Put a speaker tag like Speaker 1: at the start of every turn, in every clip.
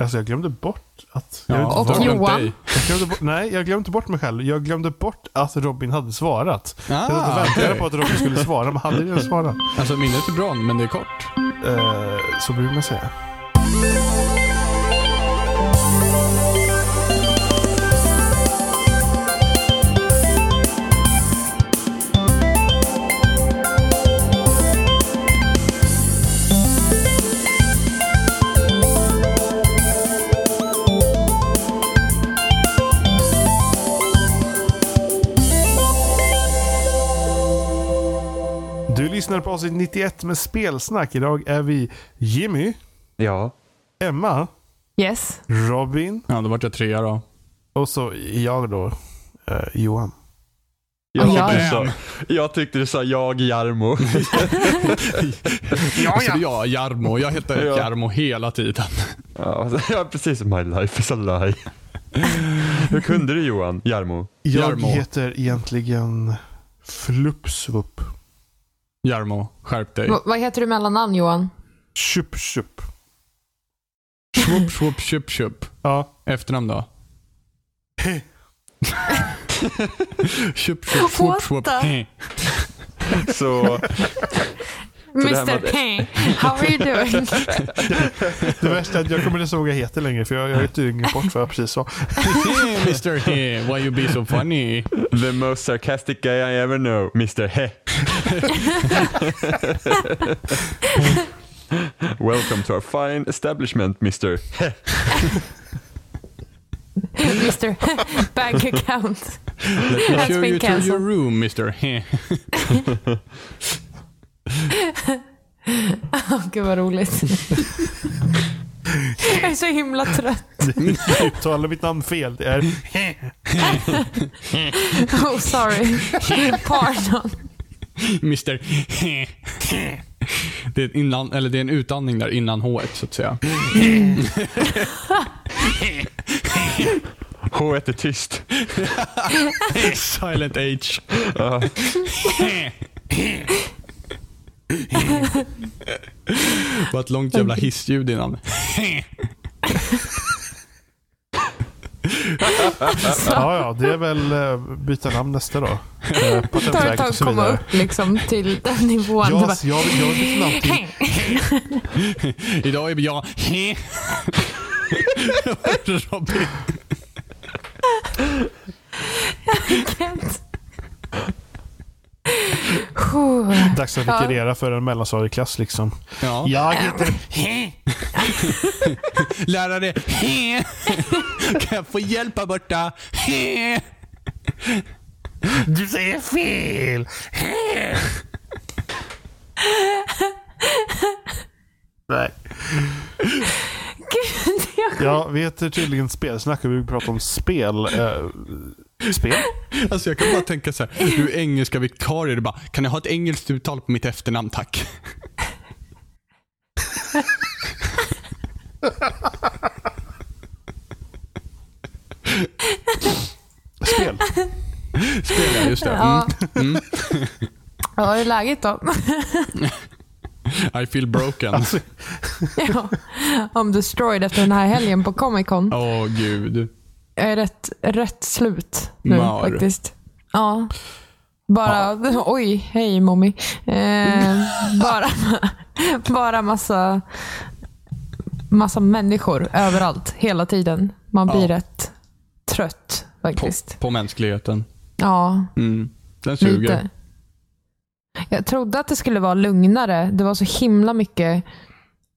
Speaker 1: Alltså jag glömde bort att... Jag,
Speaker 2: Ja,
Speaker 1: vet inte
Speaker 3: Och
Speaker 1: vad-
Speaker 3: Johan.
Speaker 1: jag glömde bort, nej, jag glömde inte bort mig själv. Jag glömde bort att Robin hade svarat.
Speaker 2: Ah,
Speaker 1: jag hade väntat
Speaker 2: okej.
Speaker 1: på att Robin skulle svara, men han hade redan svarat.
Speaker 2: Alltså minnet är bra, men det är kort.
Speaker 1: Eh, så brukar man säga. Du lyssnar på avsnitt 91 med Spelsnack. Idag är vi Jimmy,
Speaker 4: Ja.
Speaker 1: Emma,
Speaker 3: Yes.
Speaker 1: Robin
Speaker 2: Ja, då vart jag trea då.
Speaker 1: och så jag då, eh, Johan.
Speaker 4: Jag
Speaker 3: Ja.
Speaker 4: tyckte, du sa, jag tyckte du sa jag, Jarmo.
Speaker 2: Ja, ja. Jag, Jarmo. Jag heter
Speaker 4: Ja.
Speaker 2: Jarmo hela tiden.
Speaker 4: Ja, ja, precis. My life is a lie. Hur kunde du Johan? Jarmo?
Speaker 1: Jag
Speaker 2: Jarmo.
Speaker 1: heter egentligen Flupsvup.
Speaker 2: Jarmo, skärp dig.
Speaker 3: V- vad heter du mellannamn Johan?
Speaker 1: Tjup tjup.
Speaker 2: Schwupp, schwupp, tjupp, tjupp.
Speaker 1: Ja.
Speaker 2: Efternamn då?
Speaker 1: He.
Speaker 2: Tjupp, tjupp, schwupp,
Speaker 3: What
Speaker 2: schwupp.
Speaker 3: the-
Speaker 2: He.
Speaker 4: Så det här
Speaker 3: Mr
Speaker 4: med-
Speaker 3: P. How are you doing?
Speaker 1: Det värsta är att jag kommer inte ihåg vad jag heter längre för jag, jag är tydligen bort vad jag precis sa.
Speaker 2: He, Mr He, why you be so funny?
Speaker 4: The most sarcastic guy I ever know, Mr. He. Welcome to our fine establishment, Mr.
Speaker 3: Mr Bank account.
Speaker 2: Let me
Speaker 3: That's
Speaker 2: show
Speaker 3: been
Speaker 2: you to your
Speaker 3: cancelled.
Speaker 2: room, Mr He.
Speaker 3: Åh, Gud vad roligt. Jag är så himla trött.
Speaker 1: Jag uttalar mitt namn fel. Det är
Speaker 3: Oh sorry. Pardon.
Speaker 2: Mr He. Det är, ett inland, eller det är en utandning där innan H så att säga.
Speaker 4: H är tyst.
Speaker 2: Silent H.
Speaker 4: Ja.
Speaker 2: Vad ett långt jävla hissljud innan.
Speaker 1: Ja, ja, det är väl eh, byta namn nästa dag. Eh,
Speaker 3: Det tar ett
Speaker 1: Patentverket
Speaker 3: tag
Speaker 1: och
Speaker 3: att
Speaker 1: så
Speaker 3: komma
Speaker 1: vidare.
Speaker 3: upp liksom till den nivån. Det
Speaker 1: Ja,
Speaker 3: bara-
Speaker 1: så jag, jag vill byta namn till
Speaker 2: Idag är jag He. Robin.
Speaker 3: Kent. Puh.
Speaker 1: Dags att vikariera för en mellanstadig klass liksom.
Speaker 2: Ja.
Speaker 1: Jag heter...
Speaker 2: Lärare He. Kan jag få hjälp här borta? He.
Speaker 1: Du säger fel! Nej.
Speaker 3: Gud, jag
Speaker 1: Ja, vi heter tydligen Spelsnack och vi vill prata om spel. Eh, spel?
Speaker 2: Alltså jag kan bara tänka så här. Du är engelska vikarie. Du bara, kan jag ha ett engelskt uttal på mitt efternamn tack?
Speaker 1: Spel.
Speaker 2: Spelar jag, just det.
Speaker 3: Ja. Ja, hur är läget då?
Speaker 2: Mm. I feel broken. Åh
Speaker 1: Alltså,
Speaker 3: ja. I'm destroyed efter den här helgen på Comic Con.
Speaker 2: gud.
Speaker 3: Jag är rätt, rätt slut nu
Speaker 2: Mar.
Speaker 3: faktiskt. Ja. Bara, oj, hej mommy. Eh, bara, bara massa, massa människor överallt, hela tiden. Man blir
Speaker 2: Ja.
Speaker 3: rätt trött
Speaker 2: På,
Speaker 3: faktiskt.
Speaker 2: på mänskligheten.
Speaker 3: Ja,
Speaker 2: Mm. Den suger.
Speaker 3: lite. Jag trodde att det skulle vara lugnare. Det var så himla mycket.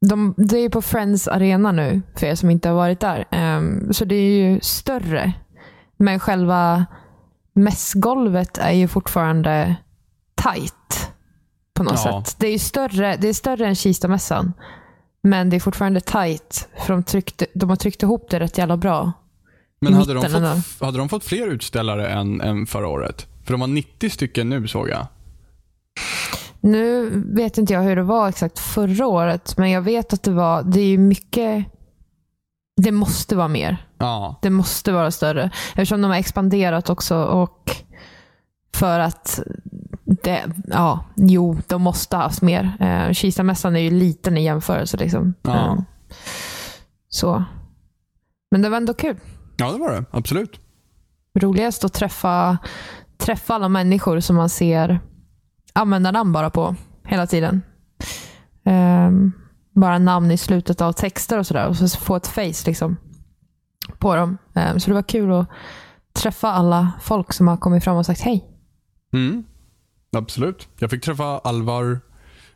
Speaker 3: De, det är ju på Friends Arena nu, för er som inte har varit där. Ehm, så det är ju större. Men själva mässgolvet är ju fortfarande tight på något
Speaker 2: Ja.
Speaker 3: sätt. Det är ju större, det är större än Kista-mässan. Men det är fortfarande tight. För de, tryckte, de har tryckt ihop det rätt jävla bra.
Speaker 2: Men
Speaker 3: I
Speaker 2: hade de,
Speaker 3: mitten ändå.
Speaker 2: fått, hade de fått fler utställare än, än förra året? För de var 90 stycken nu såg jag.
Speaker 3: Nu vet inte jag hur det var exakt förra året, men jag vet att det var, det är ju mycket, det måste vara mer.
Speaker 2: Ja.
Speaker 3: Det måste vara större. Eftersom de har expanderat också och för att det, ja, jo, de måste ha haft mer. Eh, Kistamässan är ju liten i jämförelse. Liksom.
Speaker 2: Ja.
Speaker 3: Eh, så. Men det var ändå kul.
Speaker 2: Ja, det var det. Absolut.
Speaker 3: Roligast att träffa, träffa alla människor som man ser användarnamn bara på hela tiden. Ehm, bara namn i slutet av texter och sådär. Och så få ett face liksom på dem. Ehm, så det var kul att träffa alla folk som har kommit fram och sagt hej.
Speaker 2: Mm. Absolut. Jag fick träffa Alvar,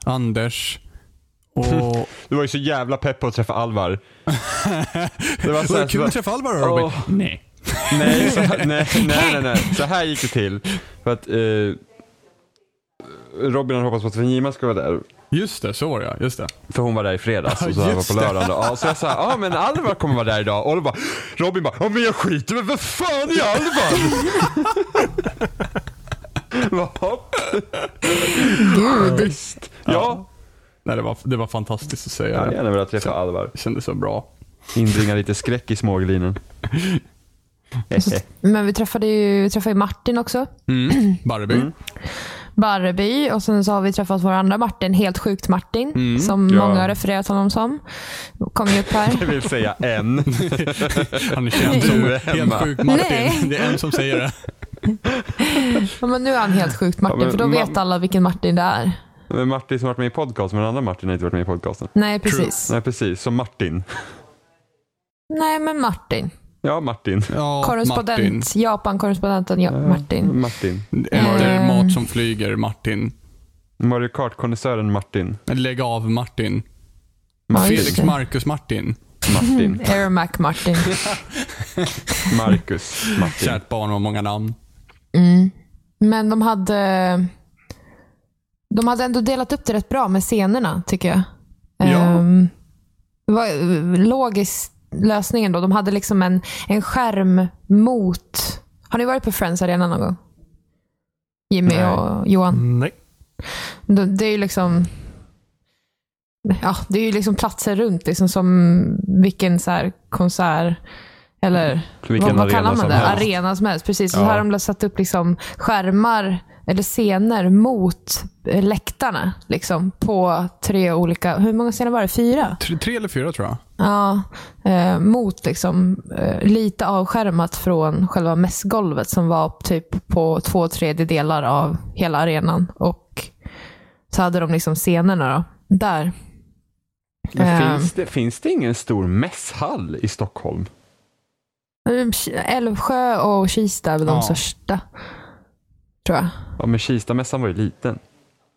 Speaker 2: Anders och...
Speaker 4: Du var ju så jävla pepp på att träffa Alvar. Det var så
Speaker 2: Var
Speaker 4: här,
Speaker 2: det kul att
Speaker 4: så,
Speaker 2: träffa Alvar då Robin?
Speaker 4: Åh.
Speaker 2: Nej.
Speaker 4: nej, så, här- nej, nej, nej, nej. Så här gick det till. För att eh, Robin hade hoppats på att Venjima skulle vara där.
Speaker 2: Just det, så var det ja. Just det.
Speaker 4: För hon var där i fredags och så
Speaker 2: Ja,
Speaker 4: här var
Speaker 2: just
Speaker 4: på lördagen. Ja, så jag sa, ja ah, men Alvar kommer vara där idag. Och då bara, Robin bara, ja men jag skiter men vad fan är Alvar? Bara, "Hopp."
Speaker 3: Gud.
Speaker 4: Visst. Ja.
Speaker 2: Nej, det var, det var fantastiskt att
Speaker 4: Jag
Speaker 2: säga
Speaker 4: hade
Speaker 2: det.
Speaker 4: gärna velat träffa Alvar.
Speaker 2: Det kändes så bra.
Speaker 4: Inbringa lite skräck i smågelinan.
Speaker 3: Men vi träffade ju, vi träffade ju Martin också.
Speaker 2: Mm. Barreby.
Speaker 3: Barreby och sen så har vi träffat vår andra Martin, helt sjukt Martin, som
Speaker 4: ja.
Speaker 3: många har refererat honom som. Kom ju upp här.
Speaker 4: Det vill säga en.
Speaker 2: Han är känd som
Speaker 4: Du är
Speaker 2: helt
Speaker 4: hemma.
Speaker 2: sjuk Martin.
Speaker 3: Nej.
Speaker 2: Det är en som säger det.
Speaker 3: Ja, men nu är han helt sjukt Martin,
Speaker 4: Ja, men
Speaker 3: för då vet
Speaker 4: mam-
Speaker 3: alla vilken Martin det är.
Speaker 4: Men Martin som varit med i podcast, men den andra Martin har inte varit med i podcasten.
Speaker 3: Nej, precis.
Speaker 4: Nej precis, som Martin.
Speaker 3: Nej, men Martin.
Speaker 4: Ja, Martin.
Speaker 2: Ja, Martin.
Speaker 3: Korrespondent, Japan-korrespondenten ja, Martin.
Speaker 4: Eh, Martin.
Speaker 2: Äter
Speaker 3: Ehm.
Speaker 2: mat som flyger, Martin.
Speaker 4: Mario Kart-konnässören Martin.
Speaker 2: Lägg av, Martin.
Speaker 3: Ja, just
Speaker 2: Felix
Speaker 3: det.
Speaker 2: Marcus Martin.
Speaker 4: Martin.
Speaker 3: Airmac Martin.
Speaker 4: Marcus Martin.
Speaker 2: Kärt barn har många namn.
Speaker 3: Mm. Men de hade de hade ändå delat upp det rätt bra med scenerna, tycker jag.
Speaker 2: Ja.
Speaker 3: Ehm, det var eh, logisk lösningen då. De hade liksom en, en skärm mot... Har ni varit på Friends Arena någon gång? Jimmy
Speaker 4: Nej.
Speaker 3: och Johan.
Speaker 1: Nej.
Speaker 3: Det, det är ju liksom... Ja, det är ju liksom platser runt, liksom som vilken så här konsert eller
Speaker 4: Mm. Vilken
Speaker 3: vad, vad
Speaker 4: arena
Speaker 3: kallar man
Speaker 4: som
Speaker 3: det?
Speaker 4: helst.
Speaker 3: Arena som helst. Precis. Och Så
Speaker 4: Ja.
Speaker 3: här har de satt upp liksom skärmar eller scener mot eh, läktarna. Liksom, på tre olika, hur många scener var det? Fyra?
Speaker 2: Tre, tre eller fyra tror jag.
Speaker 3: Ja, eh, mot liksom, eh, lite avskärmat från själva mässgolvet som var typ på två tredjedelar av hela arenan. Och så hade de liksom scenerna då. Där.
Speaker 4: Men
Speaker 3: Ehm.
Speaker 4: finns, det, finns det ingen stor mässhall i Stockholm?
Speaker 3: mm, Älvsjö och Kista är väl de
Speaker 2: Ja.
Speaker 3: största. Tror jag.
Speaker 4: Ja, men Kistamässan var ju liten.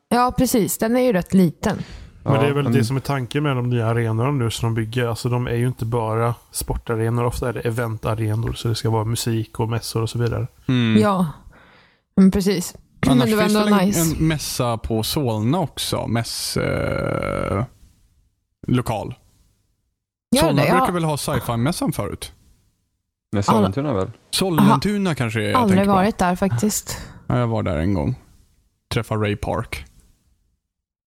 Speaker 3: Ja, precis. Den är ju rätt liten.
Speaker 1: Men
Speaker 4: ja,
Speaker 1: det är väl det som är tanken med de nya arenorna nu som de bygger. Alltså de är ju inte bara sportarenor. Ofta är det eventarenor. Så det ska vara musik och mässor och så vidare.
Speaker 2: Mm.
Speaker 3: Mm. Ja, men precis.
Speaker 2: Annars
Speaker 3: men det var
Speaker 2: finns
Speaker 3: ändå
Speaker 2: väl
Speaker 3: nice.
Speaker 2: en, en mässa på Solna också. Mäss... Eh, lokal.
Speaker 3: Gör
Speaker 2: Solna
Speaker 3: det? Jag
Speaker 2: brukar
Speaker 3: har
Speaker 2: väl ha sci-fi-mässan förut?
Speaker 4: Men Sollentuna väl?
Speaker 2: Sollentuna kanske är jag
Speaker 3: aldrig
Speaker 2: tänker på.
Speaker 3: varit där faktiskt.
Speaker 2: Ja, jag var där en gång. Träffade Ray Park.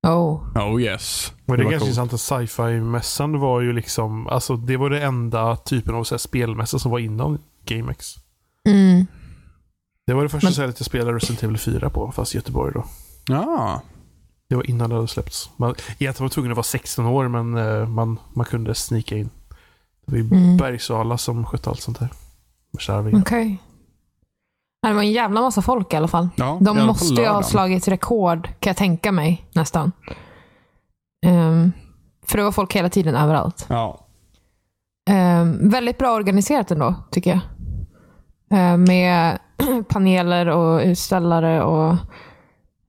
Speaker 3: Oh.
Speaker 2: Oh yes.
Speaker 1: Men det är
Speaker 2: var
Speaker 1: ganska
Speaker 2: coolt.
Speaker 1: intressant att sci-fi-mässan var ju liksom, alltså det var det enda typen av så här spelmässa som var innan GameX.
Speaker 3: Mm.
Speaker 1: Det var det första
Speaker 3: Men-
Speaker 1: stället jag spelade Resident Evil 4 på, fast i Göteborg då.
Speaker 2: Ja.
Speaker 1: Det var innan det hade släppts. Man, egentligen var man tvungen att vara 16 år, men eh, man, man kunde snika in. Det var ju
Speaker 3: Mm.
Speaker 1: Bergsala som skötte allt sånt där. Med Kärrvingen.
Speaker 3: Okej. Nej, Det var en jävla massa folk i alla fall.
Speaker 2: ja i alla
Speaker 3: De
Speaker 2: fall
Speaker 3: måste ju ha
Speaker 2: lördagen.
Speaker 3: slagit rekord, kan jag tänka mig, nästan. Ehm, för det var folk hela tiden överallt.
Speaker 2: Ja.
Speaker 3: Ehm, väldigt bra organiserat ändå, tycker jag. Ehm, med paneler och utställare och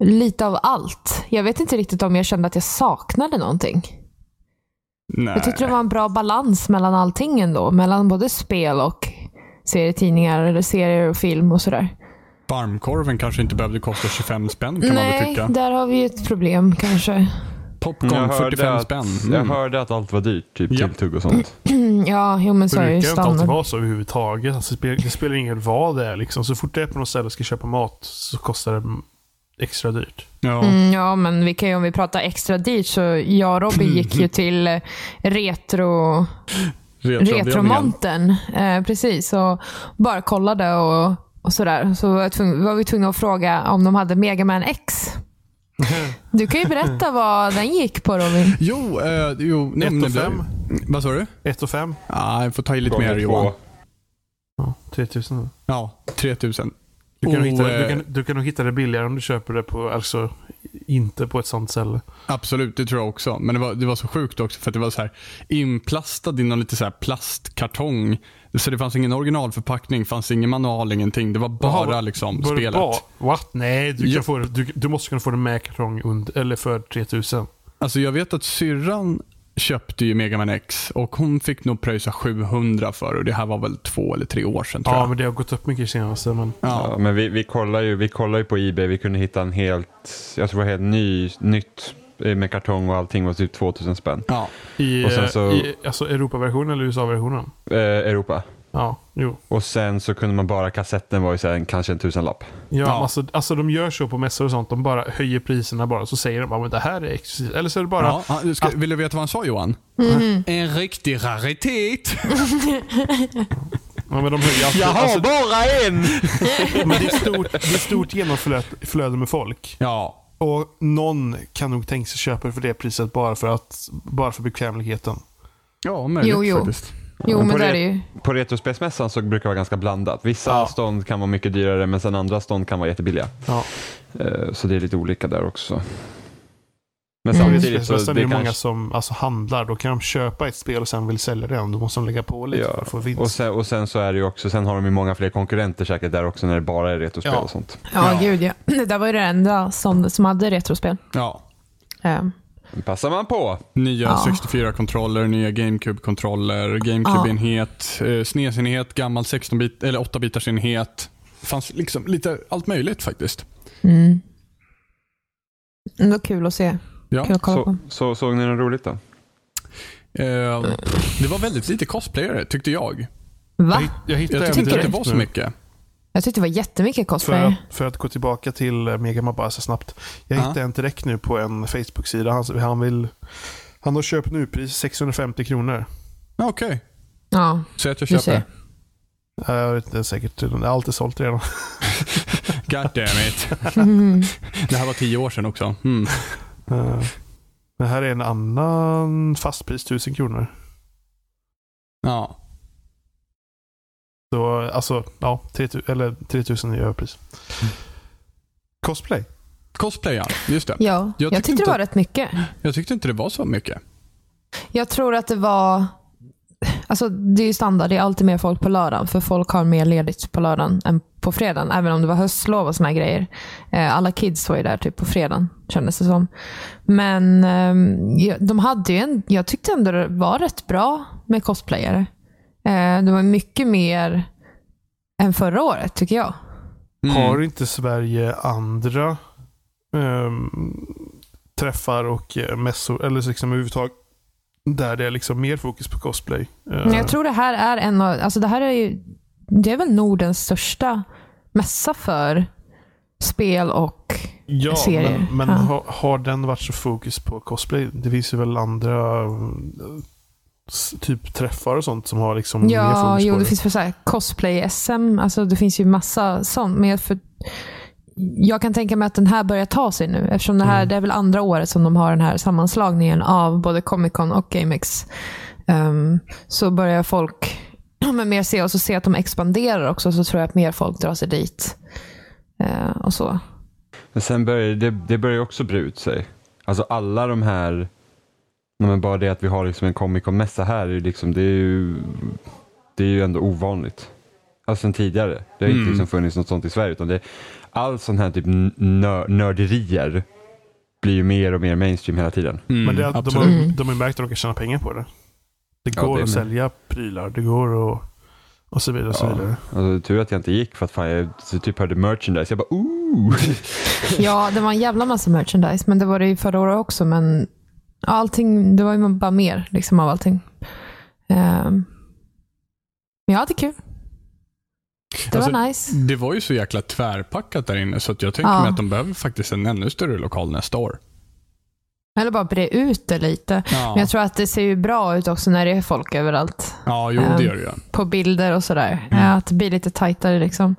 Speaker 3: lite av allt. Jag vet inte riktigt om jag kände att jag saknade någonting.
Speaker 2: Nej.
Speaker 3: Jag tyckte det var en bra balans mellan allting ändå. Mellan både spel och serietidningar, eller serier och film och sådär.
Speaker 2: Varmkorven kanske inte behövde kosta 25 spänn kan man väl
Speaker 3: Nej,
Speaker 2: tycka.
Speaker 3: där har vi ju ett problem kanske.
Speaker 2: Popcorn
Speaker 4: Jag hörde
Speaker 2: 45
Speaker 4: att-
Speaker 2: spänn.
Speaker 4: Jag
Speaker 2: Mm.
Speaker 4: hörde att allt var dyrt, typ
Speaker 2: Ja.
Speaker 4: tilltugg och sånt.
Speaker 3: ja, jo men så är
Speaker 1: brukar
Speaker 3: det ju
Speaker 1: inte alltid
Speaker 3: standard.
Speaker 1: vara så överhuvudtaget. Alltså, det, spelar, det spelar ingen roll vad det är. Liksom. Så fort det är på något ställe och ska köpa mat så kostar det m- extra dyrt.
Speaker 2: Ja.
Speaker 3: Mm, ja, men vi kan ju om vi pratar extra dyrt så jag och Robin gick ju till eh, retro,
Speaker 2: Retroavdelningen.
Speaker 3: retromontern. Eh, precis, och bara kollade och, och sådär. Så var, jag tvung, var vi tvungna att fråga om de hade Mega Man X. Du kan ju berätta vad den gick på Robin.
Speaker 2: Jo, eh, jo, nej,
Speaker 1: Ett
Speaker 2: men
Speaker 1: och
Speaker 2: det-
Speaker 1: fem.
Speaker 2: Vad sa du?
Speaker 1: 1 och 5?
Speaker 2: Ja, jag får ta i lite
Speaker 4: Gånger
Speaker 2: mer Johan.
Speaker 4: två.
Speaker 1: Ja, 3000.
Speaker 2: Ja, 3000.
Speaker 1: Du kan, nog
Speaker 2: Och,
Speaker 1: hitta, det- Oh, du,
Speaker 2: eh,
Speaker 1: kan, du kan nog hitta det billigare om du köper det på, alltså inte på ett sånt ställe.
Speaker 2: Absolut, det tror jag också. Men det var, det var så sjukt också för att det var så här inplastad i någon lite så här plastkartong. Så det fanns ingen originalförpackning, fanns ingen manual, ingenting. Det var bara
Speaker 1: Jaha,
Speaker 2: liksom
Speaker 1: Var det
Speaker 2: spelet.
Speaker 1: bra? What? Nej, du,
Speaker 2: Ja.
Speaker 1: kan få, det- du, du måste kunna få det med kartong under, eller för 3000.
Speaker 2: Alltså jag vet att syrran köpte ju Mega Man X och hon fick nog pröjsa 700 för och det här var väl två eller tre år sedan tror
Speaker 1: Ja,
Speaker 2: jag.
Speaker 1: men det har gått upp mycket senaste. Men
Speaker 2: Ja.
Speaker 4: Ja, men vi, vi, kollar ju, vi kollar ju på Ebay, vi kunde hitta en helt, jag tror det var helt ny, nytt eh, med kartong och allting var typ 2000 spänn.
Speaker 2: ja.
Speaker 1: i,
Speaker 4: Och sen
Speaker 1: eh,
Speaker 4: så-
Speaker 1: i alltså Europaversionen eller USA-versionen?
Speaker 4: Eh, Europa.
Speaker 1: Ja, jo.
Speaker 4: Och sen så kunde man bara, kassetten var ju sen kanske en tusenlapp.
Speaker 1: Ja,
Speaker 2: Ja.
Speaker 1: Alltså, alltså de gör så på mässor och sånt. De bara höjer priserna bara. Så säger de bara "Men det här är exklusivt. Eller så är det bara...
Speaker 2: Ja, ja, ska, vill du veta vad han sa Johan?
Speaker 3: Mm-hmm.
Speaker 2: En riktig raritet.
Speaker 1: Ja, men de höjer alltid. Alltså,
Speaker 4: bara en!
Speaker 1: men det är stort, det är stort genomflöde med folk.
Speaker 2: Ja,
Speaker 1: Och någon kan nog tänka sig köpa det för det priset bara för, att, bara för bekvämligheten.
Speaker 2: ja möjligt
Speaker 3: Jo, jo.
Speaker 2: faktiskt.
Speaker 3: Jo,
Speaker 4: Men
Speaker 3: men
Speaker 4: på
Speaker 3: där
Speaker 4: det-
Speaker 3: är ju...
Speaker 4: På Retrospelsmässan så brukar det vara ganska blandat. Vissa
Speaker 1: Ja.
Speaker 4: stånd kan vara mycket dyrare men sen andra stånd kan vara jättebilliga.
Speaker 1: Ja.
Speaker 4: Eh, Så det är lite olika där också. Men
Speaker 3: Mm.
Speaker 4: samtidigt så
Speaker 1: Sen är det
Speaker 4: det
Speaker 1: ju många
Speaker 4: kanske...
Speaker 1: som alltså, handlar. Då kan de köpa ett spel och sen vill sälja det. Då måste de lägga på lite
Speaker 4: Ja,
Speaker 1: för att få
Speaker 4: Och
Speaker 1: vinst.
Speaker 4: sen, och sen så är det ju också, sen har de ju många fler konkurrenter säkert där också när det bara är retrospel
Speaker 1: Ja.
Speaker 4: och sånt.
Speaker 3: Ja,
Speaker 2: Ja.
Speaker 3: gud ja. Det där var ju det enda som, som hade retrospel.
Speaker 2: Ja.
Speaker 3: Ehm,
Speaker 4: Men passar man på.
Speaker 2: Nya
Speaker 3: Ja.
Speaker 2: 64-kontroller, nya GameCube-kontroller, GameCube-enhet, eh, SNES-enhet, gammal 16-bit eller 8-bitars-enhet. Det fanns liksom lite allt möjligt faktiskt.
Speaker 3: Mm. Ändå kul att se.
Speaker 2: Ja,
Speaker 3: Kul att kolla
Speaker 4: Så,
Speaker 3: på.
Speaker 4: så, såg ni något roligt då?
Speaker 2: Eh, det var väldigt lite cosplayare tyckte jag.
Speaker 1: Jag,
Speaker 3: Va?
Speaker 1: hitt- jag hittade
Speaker 2: Jag
Speaker 1: en
Speaker 2: tyckte inte
Speaker 1: direkt
Speaker 2: det var så
Speaker 1: nu.
Speaker 2: mycket.
Speaker 3: Jag tyckte det var jättemycket
Speaker 1: För
Speaker 3: cosplay.
Speaker 1: att, för att gå tillbaka till eh, Megaman bara så snabbt. Jag
Speaker 2: Ja.
Speaker 1: hittade en direkt nu på en Facebook-sida. Han, han, vill, han har köpt nu-pris 650 kronor.
Speaker 2: Ja, Okej,
Speaker 3: Ja,
Speaker 2: säg att jag
Speaker 3: du ser.
Speaker 2: köper.
Speaker 1: Eh, Jag vet inte säkert. Allt är sålt redan.
Speaker 2: God damn it.
Speaker 3: Mm.
Speaker 2: Det här var tio år sedan också. Mm.
Speaker 1: Eh, Det här är en annan fastpris 1000 kronor.
Speaker 2: Ja.
Speaker 1: Så alltså, ja, 3000, eller 3000 i överpris. Cosplay.
Speaker 2: Cosplay ja, just det.
Speaker 3: Ja, jag
Speaker 2: tyckte
Speaker 3: tyckte, det
Speaker 2: inte-
Speaker 3: var rätt mycket.
Speaker 2: Jag tyckte inte det var så mycket.
Speaker 3: Jag tror att det var... Alltså det är ju standard, det är alltid mer folk på lördagen. För folk har mer ledigt på lördagen än på fredagen. Även om det var höstlov och såna här grejer. Eh, Alla kids var ju där typ på fredagen, kändes det som. Men ehm, ja, de hade ju en, jag tyckte ändå det var rätt bra med cosplayare. Eh, Det var mycket mer än förra året tycker jag.
Speaker 2: Mm.
Speaker 1: Har inte Sverige andra ehm, träffar och eh, mässor, eller liksom överhuvudtaget, där det är liksom mer fokus på cosplay? Eh,
Speaker 3: Men jag tror det här är en av, alltså det här är ju, det är väl Nordens största mässa för spel och
Speaker 1: ja,
Speaker 3: serier.
Speaker 1: men, men
Speaker 3: Ja.
Speaker 1: Har, har den varit så fokus på cosplay? Det finns ju väl andra eh, s- typ träffar och sånt som har liksom mer
Speaker 3: Ja,
Speaker 1: fokus
Speaker 3: jo,
Speaker 1: på
Speaker 3: det finns väl så här cosplay-SM. Alltså, det finns ju massa sånt. Men jag, för, jag kan tänka mig att den här börjar ta sig nu. Eftersom det här
Speaker 1: Mm.
Speaker 3: det är väl andra året som de har den här sammanslagningen av både Comic Con och GameX. Ehm, så börjar folk men mer se och så se att de expanderar också. Så tror jag att mer folk drar sig dit. Eh, och så.
Speaker 4: Men sen börjar det, det börjar ju också bre ut sig. Alltså alla de här, nej men bara det att vi har liksom en Comic Con-mässa här, är ju liksom, det, är ju, det är ju ändå ovanligt. Alltså sen tidigare. Det har
Speaker 2: Mm.
Speaker 4: inte liksom funnits något sånt i Sverige. Utan det, all sån här typ nör, nörderier blir ju mer och mer mainstream hela tiden.
Speaker 2: Mm,
Speaker 1: Men det, är att de,
Speaker 2: absolut.
Speaker 1: har,
Speaker 3: Mm.
Speaker 1: de har ju märkt att de kan tjäna pengar på det. Det
Speaker 4: Ja,
Speaker 1: går
Speaker 4: det
Speaker 1: att
Speaker 4: med.
Speaker 1: sälja prylar. Det går att... Och så vidare. Och så
Speaker 4: Ja.
Speaker 1: vidare.
Speaker 4: Alltså, tur att jag inte gick för att fan, jag så typ hörde merchandise. Jag bara ooh!
Speaker 3: Ja, det var en jävla massa merchandise. Men det var det ju förra året också. Men allting, det var ju bara mer liksom, av allting. Ehm. Men ja, det är kul. Det
Speaker 2: Alltså,
Speaker 3: var nice.
Speaker 2: Det var ju så jäkla tvärpackat där inne så att jag tänker
Speaker 3: Ja.
Speaker 2: mig att de behöver faktiskt en ännu större lokal nästa år.
Speaker 3: Eller bara bre ut det lite.
Speaker 2: Ja,
Speaker 3: Men jag tror att det ser ju bra ut också när det är folk överallt.
Speaker 2: ja jo det
Speaker 3: Ehm.
Speaker 2: gör det ju.
Speaker 3: På bilder och sådär.
Speaker 2: Mm.
Speaker 3: Eh, Att det blir lite tajtare liksom.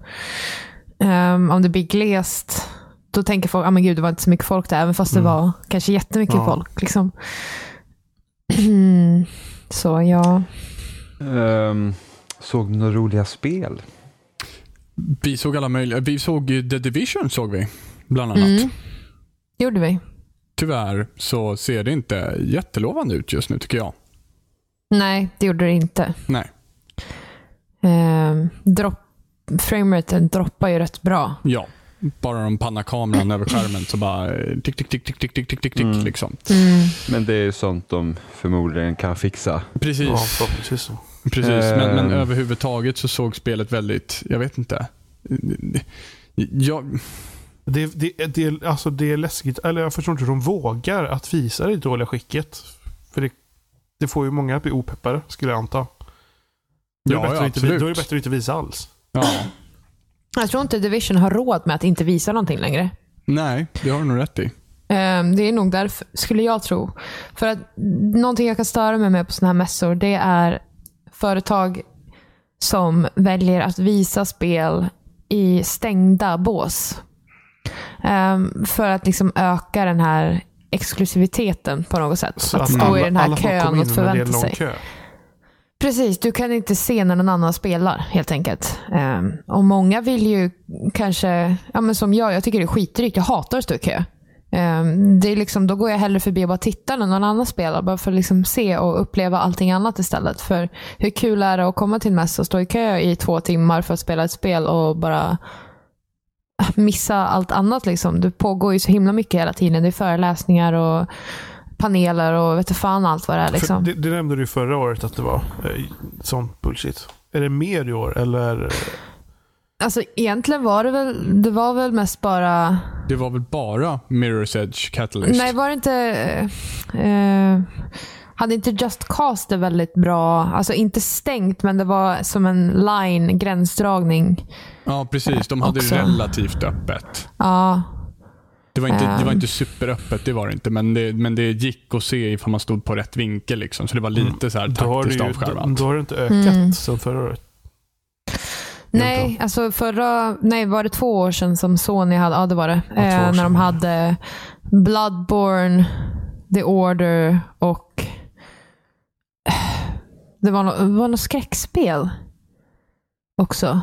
Speaker 3: Ehm, om det blir glest, då tänker folk, ah, men gud det var inte så mycket folk där. Även fast det
Speaker 1: Mm.
Speaker 3: var kanske jättemycket
Speaker 1: Ja.
Speaker 3: folk. Liksom. Så ja.
Speaker 4: Ehm, såg du några roliga spel?
Speaker 2: Vi såg alla möjliga. Vi såg ju The Division såg vi. Bland annat.
Speaker 3: Mm. Gjorde vi?
Speaker 2: Tyvärr så ser det inte jättelovande ut just nu tycker jag.
Speaker 3: Nej, det gjorde det inte.
Speaker 2: Nej.
Speaker 3: Ehm, dropp, frameraten droppar ju rätt bra.
Speaker 2: Ja. Bara de pannar kameran över skärmen så bara eh, tick, tick, tick, tick, tick, tick, tick, tick,
Speaker 4: Mm.
Speaker 2: liksom.
Speaker 4: Men det är ju sånt de förmodligen kan fixa.
Speaker 2: Precis.
Speaker 1: Ja, förhoppningsvis så.
Speaker 2: Precis, men, men
Speaker 4: Ehm.
Speaker 2: överhuvudtaget så såg spelet väldigt, jag vet inte. Jag,
Speaker 1: Det, det, det, alltså det är läskigt. Eller jag förstår inte hur de vågar att visa det i dåliga skicket. För det, det får ju många att bli opeppade, skulle jag anta. Då är det
Speaker 2: ja,
Speaker 1: bättre
Speaker 2: ja,
Speaker 1: att inte, vi-
Speaker 2: absolut.
Speaker 1: då är det bättre att inte visa alls.
Speaker 2: ja.
Speaker 3: Jag tror inte Division har råd med att inte visa någonting längre.
Speaker 2: Nej, det har du nog rätt i.
Speaker 3: Ehm, det är nog därför, skulle jag tro. För att mm, någonting jag kan störa mig med på sådana här mässor, det är företag som väljer att visa spel i stängda bås. Ehm, för att liksom öka den här exklusiviteten på något sätt.
Speaker 1: Så
Speaker 3: att stå i den här
Speaker 1: alla får komma
Speaker 3: kön och
Speaker 1: in, men det är en
Speaker 3: förvänta
Speaker 1: lång
Speaker 3: sig.
Speaker 1: Kö.
Speaker 3: Precis, du kan inte se när någon annan spelar helt enkelt. Ehm, och många vill ju kanske, ja, men som jag, jag tycker det är skitdrygt. Jag hatar att stå i kö. Ehm, det är liksom, då går jag hellre förbi och bara tittar när någon annan spelar. Bara för att liksom se och uppleva allting annat istället. För hur kul är det att komma till en mässa och stå i kö i två timmar för att spela ett spel och bara missa allt annat. Liksom. Det pågår ju så himla mycket hela tiden. Det är föreläsningar och paneler och vet du fan allt vad det är.
Speaker 1: För
Speaker 3: Liksom.
Speaker 1: Det, det nämnde du ju förra året att det var eh, sån bullshit. Är det mer i år eller?
Speaker 3: Alltså egentligen var det väl, det var väl mest bara...
Speaker 2: Det var väl bara Mirror's Edge Catalyst?
Speaker 3: Nej, var det inte... Eh, hade inte Just Cause det väldigt bra? Alltså inte stängt, men det var som en line, gränsdragning.
Speaker 2: Ja, precis. De hade
Speaker 3: Också.
Speaker 2: relativt öppet.
Speaker 3: Ja,
Speaker 2: Det var, inte, det var
Speaker 3: Ehm.
Speaker 2: inte superöppet, det var det inte. Men det, men det gick att se ifall man stod på rätt vinkel. Liksom. Så det var lite så här
Speaker 1: Mm. Då har, det
Speaker 2: taktiskt
Speaker 1: ju, då,
Speaker 2: avskärmat.
Speaker 1: då har det inte ökat
Speaker 3: Mm.
Speaker 1: sen förra året.
Speaker 3: Nej, alltså förra, nej, var det två år sedan som Sony hade, ja det var det,
Speaker 1: två år
Speaker 3: eh, när
Speaker 1: sedan.
Speaker 3: de hade Bloodborne, The Order och eh, det var något, det var något skräckspel också.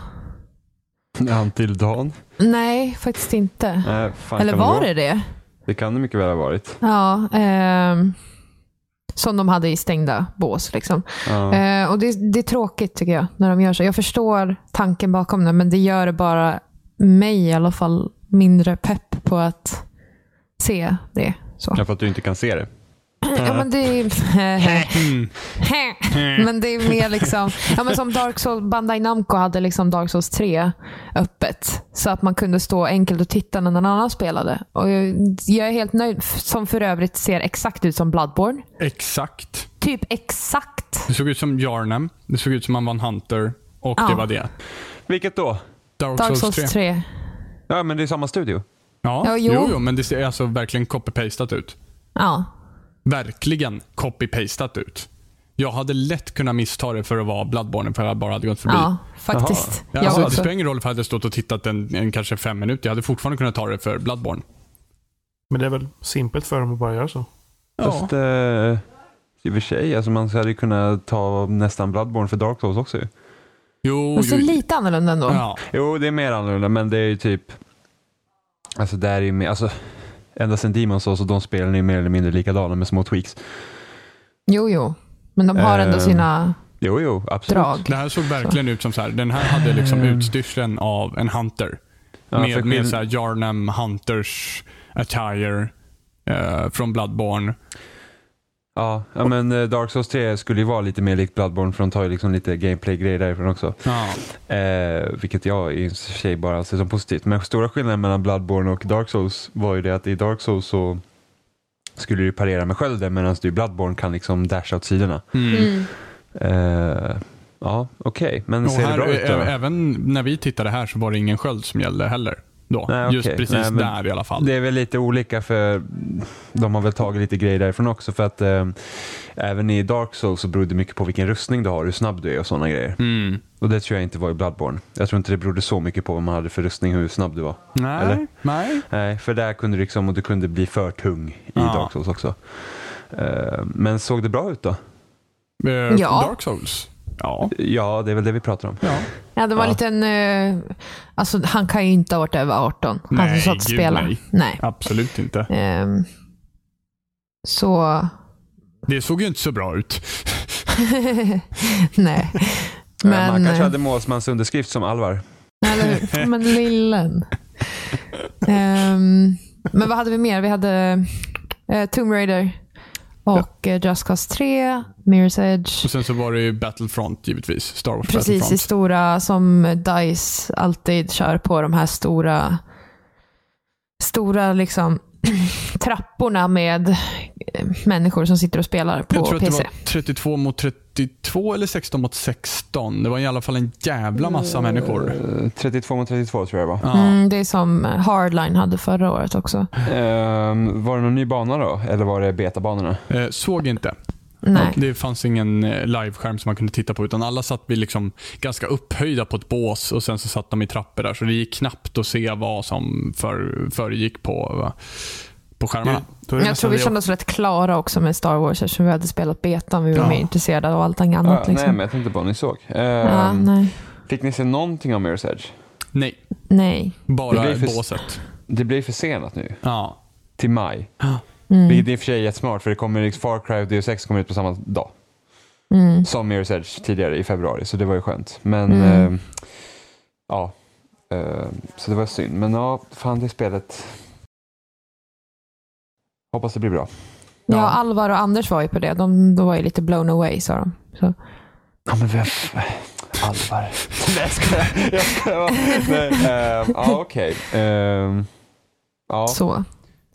Speaker 4: Until Dawn?
Speaker 3: Nej, faktiskt inte.
Speaker 4: Nej, fan
Speaker 3: Eller
Speaker 4: kan
Speaker 3: var
Speaker 4: vara.
Speaker 3: det det?
Speaker 4: Det kan det mycket väl ha varit.
Speaker 3: Ja, ehm, som de hade i stängda bås. Liksom.
Speaker 4: Ja.
Speaker 3: Eh, och det, det är tråkigt tycker jag, när de gör så. Jag förstår tanken bakom det, men det gör det bara mig i alla fall mindre pepp på att se det. Så.
Speaker 4: Ja, för att du inte kan se det.
Speaker 3: Ja, men det är...
Speaker 4: Mm.
Speaker 2: Mm. Eh,
Speaker 3: men det är mer liksom... Ja, men som Dark Souls, Bandai Namco hade liksom Dark Souls 3 öppet. Så att man kunde stå enkelt och titta när någon annan spelade. Och jag, jag är helt nöjd, f- som för övrigt ser exakt ut som Bloodborne.
Speaker 2: Exakt.
Speaker 3: Typ exakt.
Speaker 2: Det såg ut som Jarnam. Det såg ut som man vann Hunter. Och
Speaker 3: Ja.
Speaker 2: det var det.
Speaker 4: Vilket då?
Speaker 2: Dark,
Speaker 3: Dark
Speaker 2: Souls 3.
Speaker 3: Souls 3.
Speaker 4: Ja, men det är samma studio.
Speaker 2: Ja,
Speaker 3: Ja, jo.
Speaker 2: jo. jo, men det ser alltså verkligen copy-pastat ut.
Speaker 3: Ja.
Speaker 2: verkligen copy-pastat ut. Jag hade lätt kunnat missta det för att vara Bloodborne för jag bara hade gått förbi.
Speaker 3: Ja,
Speaker 2: Ja,
Speaker 3: faktiskt. Jag
Speaker 2: alltså, det
Speaker 3: också.
Speaker 2: spelar ingen roll för jag hade stått och tittat en, en kanske fem minuter. Jag hade fortfarande kunnat ta det för Bloodborne.
Speaker 1: Men det är väl simpelt för dem att bara göra så.
Speaker 4: Fast eh, i och för sig, alltså man hade ju kunnat ta nästan Bloodborne för Dark Souls också ju.
Speaker 2: Jo,
Speaker 3: Men så
Speaker 2: jo.
Speaker 3: lite annorlunda ändå.
Speaker 2: Ja.
Speaker 4: Jo, det är mer annorlunda, men det är ju typ... Alltså, där är ju mer... Alltså, ända sedan Demon's Souls och de spelen är ju mer eller mindre likadana med små tweaks.
Speaker 3: Jo, jo. Men de har ändå
Speaker 4: Ehm,
Speaker 3: sina
Speaker 4: Jo, jo, absolut.
Speaker 3: drag.
Speaker 2: Eh, Det här såg verkligen ut som så här. Den här hade liksom
Speaker 3: Mm.
Speaker 2: utstyrseln av en Hunter.
Speaker 4: Ja, för
Speaker 2: med
Speaker 4: skill-
Speaker 2: med så här Jarnam Hunters attire eh, från Bloodborne.
Speaker 4: Ja, ja, men eh, Dark Souls 3 skulle ju vara lite mer likt Bloodborne för de tar ju liksom lite gameplay-grejer därifrån också.
Speaker 2: Ja.
Speaker 4: Eh, vilket jag i och för sig bara ser som positivt. Men stora skillnaden mellan Bloodborne och Dark Souls var ju det att i Dark Souls så skulle du parera med skölden medan du i Bloodborne kan liksom dasha åt sidorna.
Speaker 2: Mm.
Speaker 3: Mm.
Speaker 4: Eh, ja, okej. Men
Speaker 2: Och
Speaker 4: ser det
Speaker 2: här,
Speaker 4: bra ut då?
Speaker 2: ä- även när vi tittade här så var det ingen sköld som gällde heller. Då.
Speaker 4: Nej, okej.
Speaker 2: Just precis
Speaker 4: Nej, men
Speaker 2: där i alla fall.
Speaker 4: Det är väl lite olika för de har väl tagit lite grejer därifrån också för att eh, även i Dark Souls så beror det mycket på vilken rustning du har, hur snabb du är och sådana grejer.
Speaker 2: Mm.
Speaker 4: Och det tror jag inte var i Bloodborne. Jag tror inte det berodde så mycket på vad man hade för rustning, hur snabb du var.
Speaker 2: Nej.
Speaker 4: Eller?
Speaker 2: Nej.
Speaker 4: Nej, för där kunde du liksom, och du kunde bli för tung i
Speaker 2: Ja.
Speaker 4: Dark Souls också. Eh, men såg det bra ut då?
Speaker 2: Eh,
Speaker 3: Ja.
Speaker 2: Dark Souls? Ja.
Speaker 4: Ja, det är väl det vi pratar om.
Speaker 2: ja.
Speaker 3: Ja, det var en
Speaker 4: Ja.
Speaker 3: liten... eh, alltså, han kan ju inte ha varit över Alltså, 18. Han
Speaker 2: Nej,
Speaker 3: som satt och
Speaker 2: gud,
Speaker 3: spelade.
Speaker 2: nej.
Speaker 3: nej.
Speaker 2: Absolut inte.
Speaker 3: Ehm, så...
Speaker 2: Det såg ju inte så bra ut.
Speaker 3: nej.
Speaker 4: Eh,
Speaker 3: Men,
Speaker 4: Man kanske
Speaker 3: eh,
Speaker 4: hade målsmans underskrift som Alvar.
Speaker 3: eller hur? men lillen. Ehm, men vad hade vi mer? Vi hade eh, Tomb Raider och eh, Just Cause 3, Mirror's Edge.
Speaker 2: Och sen så var det ju Battlefront givetvis. Star Wars
Speaker 3: Precis, i
Speaker 2: Battlefront.
Speaker 3: stora som DICE alltid kör på de här stora stora liksom trapporna med eh, människor som sitter och spelar på
Speaker 2: Jag tror att det
Speaker 3: PC.
Speaker 2: var 32 mot 32 eller 16 mot 16. Det var i alla fall en jävla massa människor.
Speaker 4: Eh, 32 mot 32 tror jag det var.
Speaker 2: Ja.
Speaker 3: Mm, det är som Hardline hade förra året också.
Speaker 4: Ehm, var det någon ny bana då? Eller var det betabanorna?
Speaker 3: Mm.
Speaker 2: Eh, såg inte.
Speaker 3: Nej.
Speaker 2: Det fanns ingen eh, liveskärm som man kunde titta på utan alla satt vid liksom ganska upphöjda på ett bås och sen så satt de i trappor där så det gick knappt att se vad som för, föregick på, va, på
Speaker 4: Mm.
Speaker 2: skärmarna.
Speaker 1: Då är det
Speaker 3: Jag
Speaker 1: nästan
Speaker 3: tror vi
Speaker 1: det
Speaker 3: kände oss rätt klara också med Star Wars eftersom vi hade spelat betan. Vi var
Speaker 2: Ja.
Speaker 3: mer intresserade av allt annat.
Speaker 4: Ah,
Speaker 3: liksom.
Speaker 4: Nej, men jag tänkte på vad ni såg. Ehm,
Speaker 3: ja, nej.
Speaker 4: Fick ni se någonting om Mirror's Edge?
Speaker 2: Nej,
Speaker 3: nej.
Speaker 2: bara
Speaker 4: Det blir för-
Speaker 2: båset.
Speaker 4: Det blir försenat nu,
Speaker 2: Ja.
Speaker 4: till maj.
Speaker 3: Mm.
Speaker 4: Vilket i och för sig är jättesmart för det kommer liksom Far Cry och DO6 kommer ut på samma dag.
Speaker 3: Mm.
Speaker 4: Som Mirror's Edge tidigare i februari, så det var ju skönt. Men
Speaker 3: Mm.
Speaker 4: ehm, ja, Ehm, så det var synd. Men ja, fan det spelet. Hoppas det blir bra.
Speaker 3: Ja,
Speaker 2: Ja.
Speaker 3: Alvar och Anders var ju på det. De, de var ju lite blown away sa de. Så.
Speaker 4: Ja men vem... Alvar. Nej jag skojar. Jag skojar. Nej, ehm, Ja okej. Ehm, Ja.
Speaker 3: Så.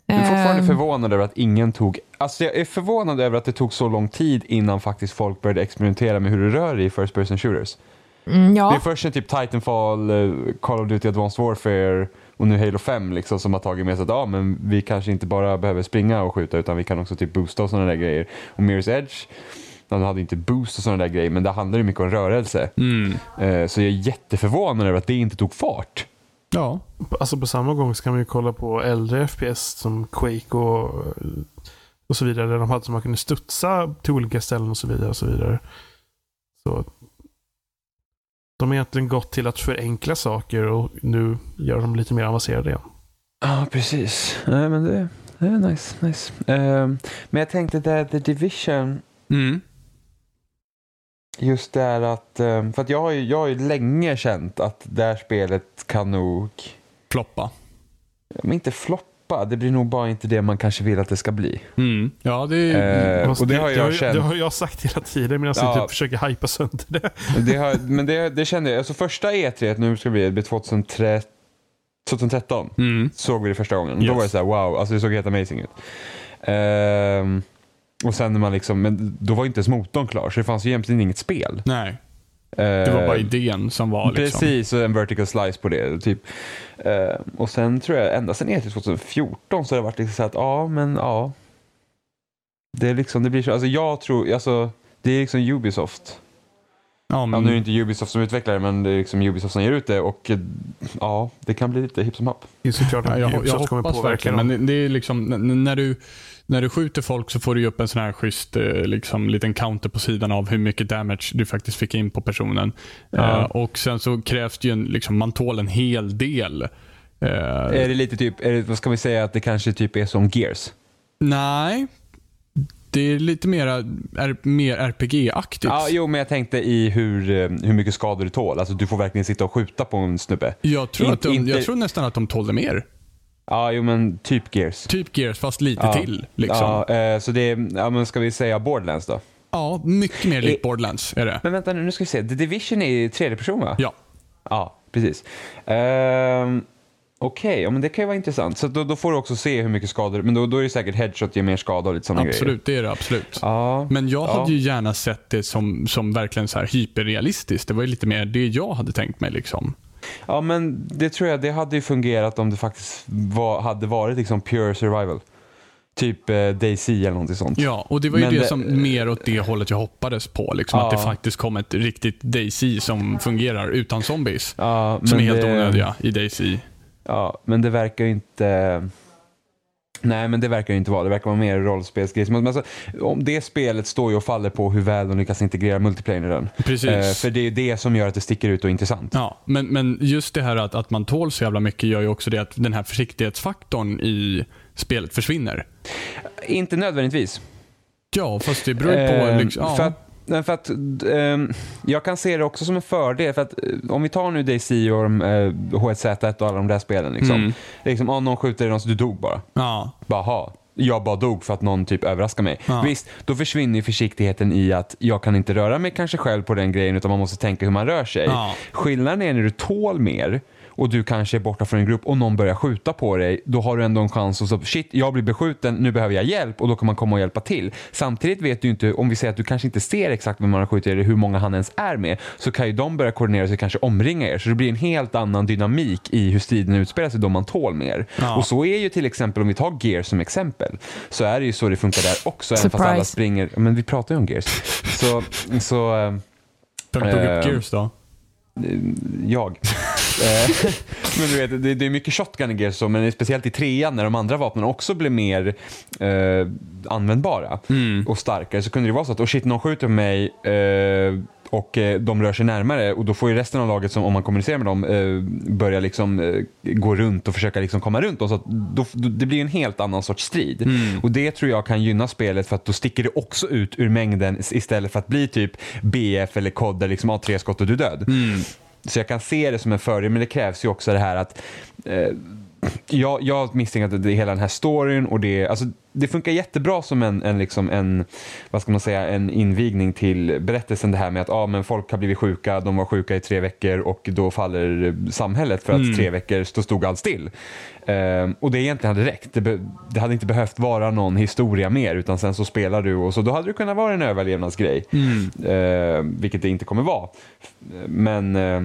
Speaker 4: Jag är fortfarande
Speaker 3: Ehm.
Speaker 4: förvånad över att ingen tog... Alltså jag är förvånad över att det tog så lång tid innan faktiskt folk började experimentera med hur det rör i First Person Shooters.
Speaker 3: Mm, ja.
Speaker 4: Det är först när typ Titanfall, eh, Call of Duty Advanced Warfare och nu Halo 5 liksom, som har tagit med sig att ah, men vi kanske inte bara behöver springa och skjuta utan vi kan också typ boosta och sådana där grejer. Och Mirror's Edge, ja, de hade inte boost och sådana där grejer men det handlar ju mycket om rörelse.
Speaker 2: Mm.
Speaker 4: Eh, Så jag är jätteförvånad över att det inte tog fart.
Speaker 2: Ja.
Speaker 1: Alltså på samma gång så kan man ju kolla på äldre FPS som Quake och, och så vidare. Där de hade så man kunde studsa till olika ställen och så vidare. Och så vidare. Så de har egentligen gått till att förenkla saker och nu gör de lite mer avancerade igen.
Speaker 4: Ja, precis. Nej, men det, det är nice. nice. Ehm, men jag tänkte där The Division,
Speaker 2: Mm.
Speaker 4: just där att... ehm, För att jag har, ju, jag har ju länge känt att det här spelet kan nog,
Speaker 2: Floppa.
Speaker 4: men inte floppa, det blir nog bara inte det man kanske vill att det ska bli.
Speaker 2: Mm. Ja, det är...
Speaker 4: Ehm,
Speaker 1: Fast
Speaker 4: och det har jag
Speaker 1: det, det
Speaker 4: känt.
Speaker 1: har jag sagt hela tiden medan
Speaker 4: Ja.
Speaker 1: jag typ försöker hypa sönder det.
Speaker 4: Det har, men det, det kände jag. Alltså första E3, nu ska det bli, det blir 2013, 2013.
Speaker 2: Mm.
Speaker 4: såg vi det första gången. Då
Speaker 2: Yes.
Speaker 4: var det så här, wow, alltså det såg helt amazing ut. Ehm, och sen när man liksom, men då var ju inte ens motorn klar så det fanns ju egentligen inget spel.
Speaker 2: Nej, det var bara
Speaker 4: Ehm,
Speaker 2: idén som var liksom...
Speaker 4: Precis, och en vertical slice på det. Typ. Ehm, och sen tror jag, ända sen E E3 2014 så har det varit liksom så här att, ja men ja. Det är liksom, det blir så, alltså jag tror, alltså det är liksom Ubisoft.
Speaker 2: Ja,
Speaker 4: Ja, nu är det
Speaker 2: men...
Speaker 4: inte Ubisoft som utvecklare men det är liksom Ubisoft som ger ut det och eh, ja, det kan bli lite hipp som happ.
Speaker 1: Det är såklart
Speaker 2: Ja,
Speaker 1: att
Speaker 2: jag, jag
Speaker 1: Ubisoft kommer
Speaker 2: hoppas
Speaker 1: påverka
Speaker 2: verkligen,
Speaker 1: dem.
Speaker 2: men det- det är liksom, n- n- när, du, när du skjuter folk så får du ju upp en sån här schysst eh, liksom, liten counter på sidan av hur mycket damage du faktiskt fick in på personen.
Speaker 4: Ja.
Speaker 2: Eh, och Sen så krävs det ju en, liksom, man tål en hel del. Eh,
Speaker 4: Är det lite typ, är det, vad ska vi säga att det kanske typ är som Gears?
Speaker 2: nej, det är lite mera, är, mer RPG-aktigt.
Speaker 4: Ja, jo, men jag tänkte i hur, eh, hur mycket skador du tål. Alltså, du får verkligen sitta och skjuta på en snubbe.
Speaker 2: jag, tror
Speaker 4: In-
Speaker 2: att de,
Speaker 4: inte-
Speaker 2: jag tror nästan att de tålde mer.
Speaker 4: Ja, jo, men typ Gears.
Speaker 2: Typ Gears, fast lite
Speaker 4: Ja.
Speaker 2: till. Liksom. Ja.
Speaker 4: Ja, eh, så det är, ja, men ska vi säga Borderlands då?
Speaker 2: mycket mer likt
Speaker 4: I-
Speaker 2: Borderlands är det.
Speaker 4: Men vänta nu, nu ska vi se. The Division är i tredje person va?
Speaker 2: Ja.
Speaker 4: Ja, precis. Ehm, Okej, ja, men det kan ju vara intressant. Så då, då får du också se hur mycket skador, men då, då är det säkert headshot ger mer skada och lite sådana grejer.
Speaker 2: Absolut, det är det absolut.
Speaker 4: Ja,
Speaker 2: Men jag
Speaker 4: Ja.
Speaker 2: hade ju gärna sett det som, som verkligen så här hyperrealistiskt. Det var ju lite mer det jag hade tänkt mig. liksom.
Speaker 4: ja, men det tror jag, det hade ju fungerat om det faktiskt var, hade varit liksom pure survival. Typ eh, DayZ eller någonting sånt.
Speaker 2: Ja, och det var ju
Speaker 4: Men
Speaker 2: det,
Speaker 4: det-
Speaker 2: som mer åt det hållet jag hoppades på. Liksom,
Speaker 4: Ja.
Speaker 2: Att det faktiskt kom ett riktigt DayZ som fungerar utan zombies.
Speaker 4: Ja,
Speaker 2: Som är
Speaker 4: men
Speaker 2: helt
Speaker 4: det-
Speaker 2: onödiga i DayZ.
Speaker 4: Ja, men det verkar ju inte... Nej, men det verkar det inte vara. Det verkar vara mer rollspelsgrej. Men alltså, om det spelet står ju och faller på hur väl de lyckas integrera multiplayer i den.
Speaker 2: Precis.
Speaker 4: Eh, för det är ju det som gör att det sticker ut och är intressant.
Speaker 2: Ja, men, men just det här att, att man tål så jävla mycket gör ju också det att den här försiktighetsfaktorn i spelet försvinner.
Speaker 4: Inte nödvändigtvis.
Speaker 2: Ja, fast det beror ju på...
Speaker 4: Eh,
Speaker 2: liksom, ja.
Speaker 4: för att, nej, för att ehm, jag kan se det också som en fördel. För att, eh, om vi tar nu DayZ och de, eh, H1Z1 och alla de där spelen. Liksom.
Speaker 2: Mm.
Speaker 4: Det är liksom, ah, någon skjuter i någon så du dog bara.
Speaker 2: ja.
Speaker 4: Bara, "Ha, jag bara dog för att någon typ överraskade mig.
Speaker 2: Ja.
Speaker 4: Visst, då försvinner ju försiktigheten i att jag kan inte röra mig kanske själv på den grejen utan man måste tänka hur man rör sig.
Speaker 2: Ja.
Speaker 4: Skillnaden är när du tål mer och du kanske är borta från en grupp och någon börjar skjuta på dig, då har du ändå en chans att så, shit, jag blir beskjuten, nu behöver jag hjälp och då kan man komma och hjälpa till. Samtidigt vet du ju inte, om vi säger att du kanske inte ser exakt vem man har skjutit eller hur många han ens är med, så kan ju de börja koordinera sig och kanske omringa er. Så det blir en helt annan dynamik i hur striden utspelar sig då man tål mer.
Speaker 2: Ja.
Speaker 4: Och så är ju till exempel, om vi tar Gear som exempel, så är det ju så det funkar där också, även fast
Speaker 3: Surprise.
Speaker 4: alla springer, men vi pratar ju om Gears. Så, så eh,
Speaker 2: Vem tog upp
Speaker 4: Eh,
Speaker 2: Gears då?
Speaker 4: jag. Eh, men du vet, det, det är mycket shotgun i Gears och så, men speciellt i trean när de andra vapnen också blev mer eh, användbara och starkare så kunde det vara så att oh shit, någon skjuter på mig eh, och eh, de rör sig närmare och då får ju resten av laget, som, om man kommunicerar med dem, eh, börja liksom, eh, gå runt och försöka liksom komma runt dem. Så att då, då, det blir en helt annan sorts strid. Och Det tror jag kan gynna spelet för att då sticker det också ut ur mängden is- istället för att bli typ BF eller COD där liksom, ah, tre skott och du är död. Så jag kan se det som en fördel, men det krävs ju också det här att eh, jag, jag misstänker att det är hela den här storyn och det, alltså, det funkar jättebra som en, en, liksom en, vad ska man säga, en invigning till berättelsen det här med att ah, men folk har blivit sjuka, de var sjuka i tre veckor och då faller samhället för att tre veckor så stod allt still. Eh, och det egentligen hade räckt. Det, be, det hade inte behövt vara någon historia mer utan sen så spelar du och så då hade det kunnat vara en överlevnadsgrej.
Speaker 2: Mm.
Speaker 4: Eh, vilket det inte kommer vara. Men eh,